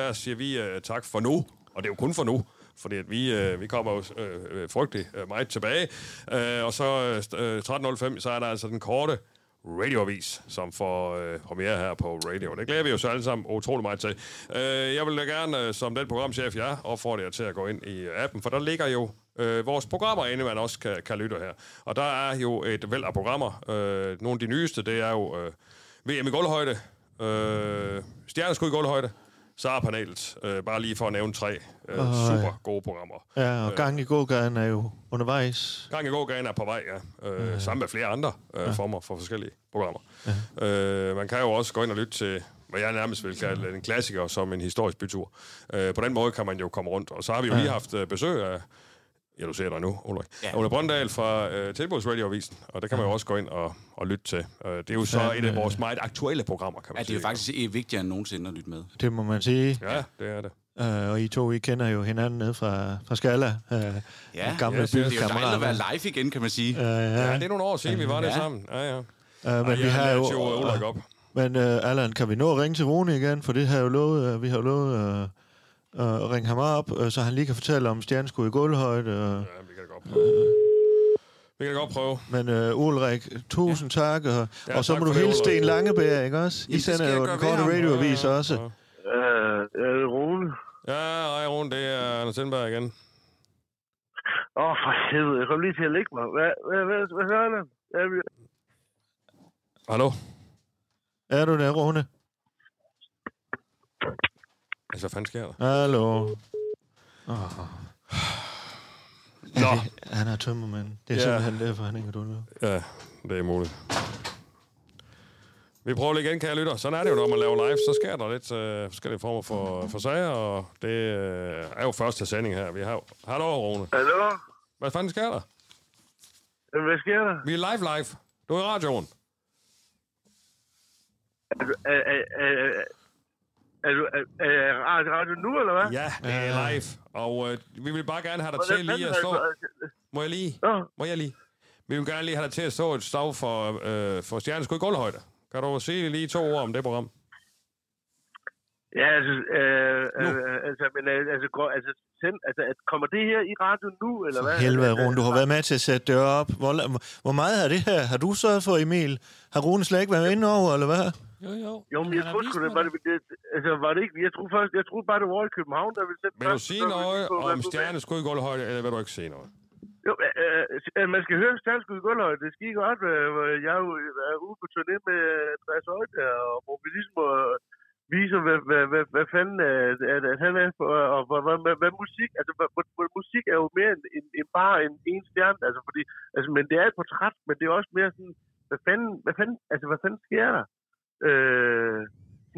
[SPEAKER 3] Der siger vi øh, tak for nu, og det er jo kun for nu, fordi at vi, øh, vi kommer jo øh, øh, frygtelig øh, meget tilbage. Øh, og så øh, st- øh, 13.05, så er der altså den korte radioavis, som får øh, premiere her på radio. Det glæder vi jo så alle sammen utrolig meget til. Øh, jeg vil da gerne, øh, som den programchef jeg er, opfordre jer til at gå ind i øh, appen, for der ligger jo øh, vores programmer inde, man også kan, kan lytte her. Og der er jo et væld af programmer. Øh, nogle af de nyeste, det er jo øh, VM i gulvhøjde, øh, stjerneskud i gulvhøjde, SAR-panelet, øh, bare lige for at nævne tre øh,
[SPEAKER 4] Åh, ja.
[SPEAKER 3] super gode programmer.
[SPEAKER 4] Ja, og gang i gågaden er jo undervejs.
[SPEAKER 3] Gang i gågaden er på vej, ja. Øh, Sammen med flere andre øh, former for forskellige programmer. Ja. Øh, man kan jo også gå ind og lytte til hvad jeg nærmest vil kalde en klassiker som en historisk bytur. Øh, på den måde kan man jo komme rundt. Og så har vi jo lige haft øh, besøg af, ja, du ser dig nu, Ulrik, ja. Ole Brøndal fra øh, Tilbudsradioavisen, og der kan man jo også gå ind og, og lytte til. Øh, det er jo så
[SPEAKER 4] Fandme.
[SPEAKER 3] et af vores meget aktuelle programmer, kan man
[SPEAKER 15] Ja, det er jo
[SPEAKER 3] sige.
[SPEAKER 15] faktisk eh, vigtigere end nogensinde at lytte med.
[SPEAKER 4] Det må man sige.
[SPEAKER 3] Ja, det er det.
[SPEAKER 4] Øh, og I to, I kender jo hinanden ned fra, fra Skala. Øh,
[SPEAKER 15] Ja,
[SPEAKER 4] gamle
[SPEAKER 15] det er jo dejligt
[SPEAKER 4] bykammerater.
[SPEAKER 15] at være live igen, kan man sige.
[SPEAKER 4] Ja, ja.
[SPEAKER 3] Ja, det er nogle år siden, vi var der
[SPEAKER 15] Ja.
[SPEAKER 3] sammen. Ja, ja.
[SPEAKER 4] Øh, men
[SPEAKER 3] Ej,
[SPEAKER 4] vi
[SPEAKER 3] jeg
[SPEAKER 4] har
[SPEAKER 3] lærte
[SPEAKER 4] jo...
[SPEAKER 3] jo Ulrik op.
[SPEAKER 4] Men øh, Allan, kan vi nå at ringe til Rune igen? For det har jeg jo lovet, øh, vi har jo lovet øh, øh, at ringe ham op, øh, så han lige kan fortælle om stjerneskud i gulvhøjde. Øh.
[SPEAKER 3] Ja, vi kan da godt prøve. Vi kan da godt prøve.
[SPEAKER 4] Men øh, Ulrik, tusind ja. tak. Og,
[SPEAKER 3] Ja,
[SPEAKER 4] ja, og så
[SPEAKER 3] tak
[SPEAKER 4] må
[SPEAKER 3] for
[SPEAKER 4] du
[SPEAKER 3] det,
[SPEAKER 4] hilse
[SPEAKER 3] Ulrik.
[SPEAKER 4] Sten Langebær, ikke også? I
[SPEAKER 3] Jamen, det skal
[SPEAKER 4] sender
[SPEAKER 3] jeg
[SPEAKER 4] jo
[SPEAKER 3] gøre
[SPEAKER 4] den
[SPEAKER 3] ved
[SPEAKER 4] korte
[SPEAKER 3] ham.
[SPEAKER 4] radioavis
[SPEAKER 3] Ja, ja,
[SPEAKER 4] også.
[SPEAKER 8] Øh, er det Rune?
[SPEAKER 3] Ja, hej Rune, det er Anders Sindberg igen.
[SPEAKER 8] Åh, oh, for helvede, jeg kom lige til at lægge mig. Hvad, hvad, hvad, hvad hører den? Er vi-
[SPEAKER 3] Hallo?
[SPEAKER 4] Er du der, Rune?
[SPEAKER 3] Altså, hvad fanden sker der?
[SPEAKER 4] Hallo? Oh.
[SPEAKER 3] Nå.
[SPEAKER 4] Han er tømmermand. Det er
[SPEAKER 3] Ja.
[SPEAKER 4] ja. simpelthen derfor, han ikke er dulvet.
[SPEAKER 3] Ja, det er muligt. Vi prøver lige igen, kære lytter. Sådan er det jo, når man laver live. Så sker der lidt øh, forskellige former for, for sager, og det øh, er jo første sending her. Vi har jo... Hallo, Rune.
[SPEAKER 8] Hallo?
[SPEAKER 3] Hvad fanden sker der?
[SPEAKER 8] Jamen, Hvad sker der?
[SPEAKER 3] Vi er live live. Du er i radioen.
[SPEAKER 8] Er, er, er, er, er, du- er, er, er radio nu, eller hvad?
[SPEAKER 3] Ja, det er live. Og øh, vi vil bare gerne have dig
[SPEAKER 8] Hvordan
[SPEAKER 3] til lige at
[SPEAKER 8] fanden
[SPEAKER 3] stå...
[SPEAKER 8] er
[SPEAKER 3] Må jeg lige? Må jeg lige? Vi vil gerne lige have dig til at stå et stav for, øh, for stjerneskud i gulvhøjde. Kan du sige lige to ord om det program?
[SPEAKER 8] Ja, altså, øh, øh, altså, men, øh, altså, går, altså, send, altså, at- kommer det her i radio nu, eller hvad? Altså,
[SPEAKER 4] Helvede, Rune, du har været med til at sætte det op. Hvor, la- hvor meget af det her har du sørget for, Emil? Har Rune slet ikke været inde over, eller hvad?
[SPEAKER 5] Jo, jo.
[SPEAKER 8] Jo, men jeg troede sgu, det var det, det, altså, var det ikke, jeg troede først, jeg troede bare, det var i København, der ville sætte
[SPEAKER 3] Vil du sige noget om stjerneskud i gulvhøjde, eller vil du ikke sige noget?
[SPEAKER 8] Jo, øh, øh, man skal høre Stjernskud i Gulløj, det skal I godt. øh, hvor Jeg er jo øh, er ude på turné med øh, Andreas Højde, og hvor vi ligesom øh, viser, hvad, hvad, hvad, hvad fanden øh, at, at han er, for, øh, og hvad, hvad, hvad, hvad musik, altså hvad, hvad, hvad, musik er jo mere end, end, end bare en, en stjerne, altså fordi, altså, men det er et portræt, men det er også mere sådan, hvad fanden, hvad fanden, altså hvad fanden sker der? Øh,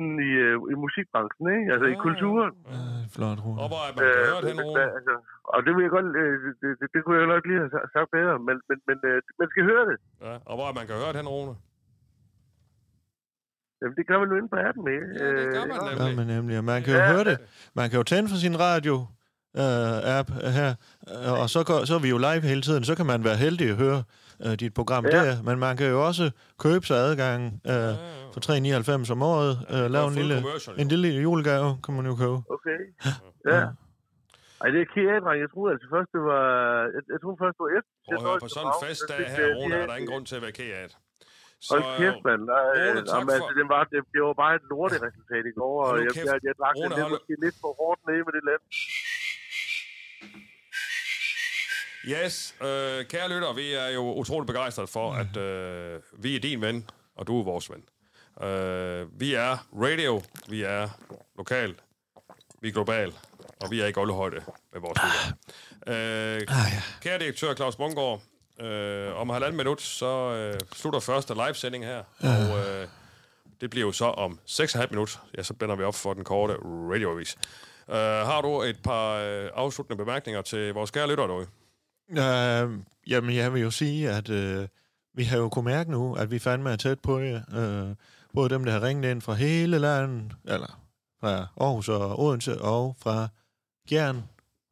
[SPEAKER 8] sådan i, øh, i musikbranchen, ikke? Altså i kulturen.
[SPEAKER 4] Flot, Rune.
[SPEAKER 3] Og hvor er
[SPEAKER 8] man øh, hørt hen, altså, Og det vil jeg godt, øh, det, det, det, kunne jeg nok lige have sa- sagt bedre, men, men, men øh, man skal høre det.
[SPEAKER 3] Ja, og hvor er man kan høre den, Rune?
[SPEAKER 8] Jamen, det gør man nu inde på appen, ikke? Ja, det gør man
[SPEAKER 4] Ja, men nemlig. Og man kan jo høre det. Man kan jo tænde for sin radio øh, app her, øh, og så, går, så er vi jo live hele tiden. Så kan man være heldig at høre øh, dit program
[SPEAKER 8] Ja.
[SPEAKER 4] ja. der. Men man kan jo også købe sig adgang øh, for 3,99 om året. Øh, lave en
[SPEAKER 8] fuld
[SPEAKER 4] lille,
[SPEAKER 8] commercial, jo.
[SPEAKER 4] en lille julegave, kan man jo købe.
[SPEAKER 8] Øh, Okay. Ja. Ej, det er kære, dreng. Jeg troede altså først, det var... Jeg, jeg troede først, det var et.
[SPEAKER 3] Prøv at høre, på sådan en festdag her, Rune, er der ingen grund til at være ked af det.
[SPEAKER 8] Hold kæft, mand. Nej,
[SPEAKER 3] Rune,
[SPEAKER 8] Rune,
[SPEAKER 3] tak
[SPEAKER 8] jamen, altså,
[SPEAKER 3] for-
[SPEAKER 8] det, var, det, det var bare et lorteresultat i går, og
[SPEAKER 3] Hold nu
[SPEAKER 8] jeg,
[SPEAKER 3] kæft.
[SPEAKER 8] jeg, jeg, drak
[SPEAKER 3] Rune,
[SPEAKER 8] det lidt,
[SPEAKER 3] hold-
[SPEAKER 8] måske lidt for hårdt nede med det land.
[SPEAKER 3] Yes, øh, kære lytter, vi er jo utrolig begejstrede for, at øh, vi er din ven, og du er vores ven. Øh, vi er radio, vi er lokal, vi er global, og vi er i gulvhøjde med vores lytter. Øh, kære direktør Claus Bungård, øh, om halvanden minut, så øh, slutter første livesending her, og øh, det bliver jo så om 6,5 minutter. Ja, så bænder vi op for den korte radioavis. Uh, har du et par øh, afsluttende bemærkninger til vores kære lytter derude?
[SPEAKER 4] Øh, jamen, jeg vil jo sige, at øh, vi har jo kunnet mærke nu, at vi fandme er tæt på det. Øh, både dem, der har ringet ind fra hele landet, eller fra Aarhus og Odense, og fra Gjern.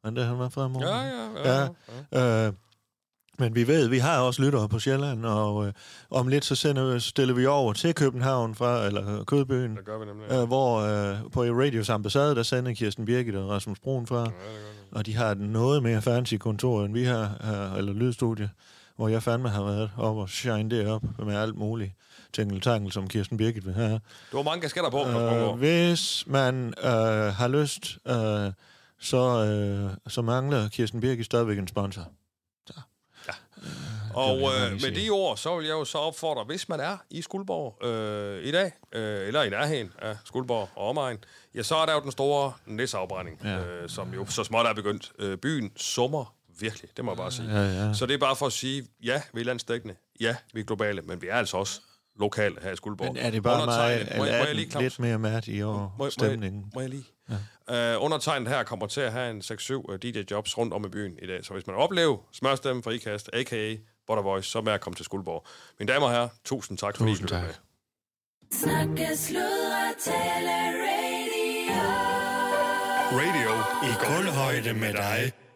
[SPEAKER 4] Men det han var fra morgen.
[SPEAKER 3] Ja, ja, ja,
[SPEAKER 4] ja. Øh, men vi ved, vi har også lyttere på Sjælland, og øh, om lidt så sender, stiller vi over til København fra, eller Kødbyen, det
[SPEAKER 3] gør vi nemlig,
[SPEAKER 4] øh, hvor øh, på Radios ambassade, der sender Kirsten Birgit og Rasmus Brun fra, ja, og de har et noget mere fancy kontor, end vi har, øh, eller lydstudie, hvor jeg fandme har været op og shine det op med alt muligt tingeltangel, som Kirsten Birgit vil have.
[SPEAKER 3] Du har mange kasketter på, Claus
[SPEAKER 4] Øh,
[SPEAKER 3] Bungård.
[SPEAKER 4] hvis man øh, har lyst, øh, så, øh, så mangler Kirsten Birgit stadigvæk en sponsor.
[SPEAKER 3] Og
[SPEAKER 4] jeg
[SPEAKER 3] øh,
[SPEAKER 4] lige
[SPEAKER 3] med de ord, så vil jeg jo så opfordre, hvis man er i Skuldborg øh, i dag, øh, eller i nærheden af Skuldborg og omegn, ja, så er der jo den store næsafbrænding, ja. øh, som jo så småt er begyndt. Øh, byen summer virkelig, det må jeg bare sige.
[SPEAKER 4] Ja, ja.
[SPEAKER 3] Så det er bare for at sige, ja, vi er landstækkende, ja, vi er globale, men vi er altså også lokal her i Skuldborg.
[SPEAKER 4] Men er det bare mig,
[SPEAKER 3] Undertegnet- må, jeg-
[SPEAKER 4] eller
[SPEAKER 3] må
[SPEAKER 4] er
[SPEAKER 3] jeg lige,
[SPEAKER 4] den
[SPEAKER 3] Claus?
[SPEAKER 4] lidt mere mat i år,
[SPEAKER 3] må,
[SPEAKER 4] stemningen?
[SPEAKER 3] Må jeg, må jeg lige? Ja. Øh, undertegnet her kommer til at have en 6-7 øh, DJ-jobs rundt om i byen i dag. Så hvis man oplever smørstemmen fra IKAST, a.k.a. Butter Voice, så er med at komme til Skuldborg. Mine damer og herrer, tusind tak, fordi I lyttede med.
[SPEAKER 16] Snakke, sludre, tale radio.
[SPEAKER 12] Radio i kulhøjde med dig.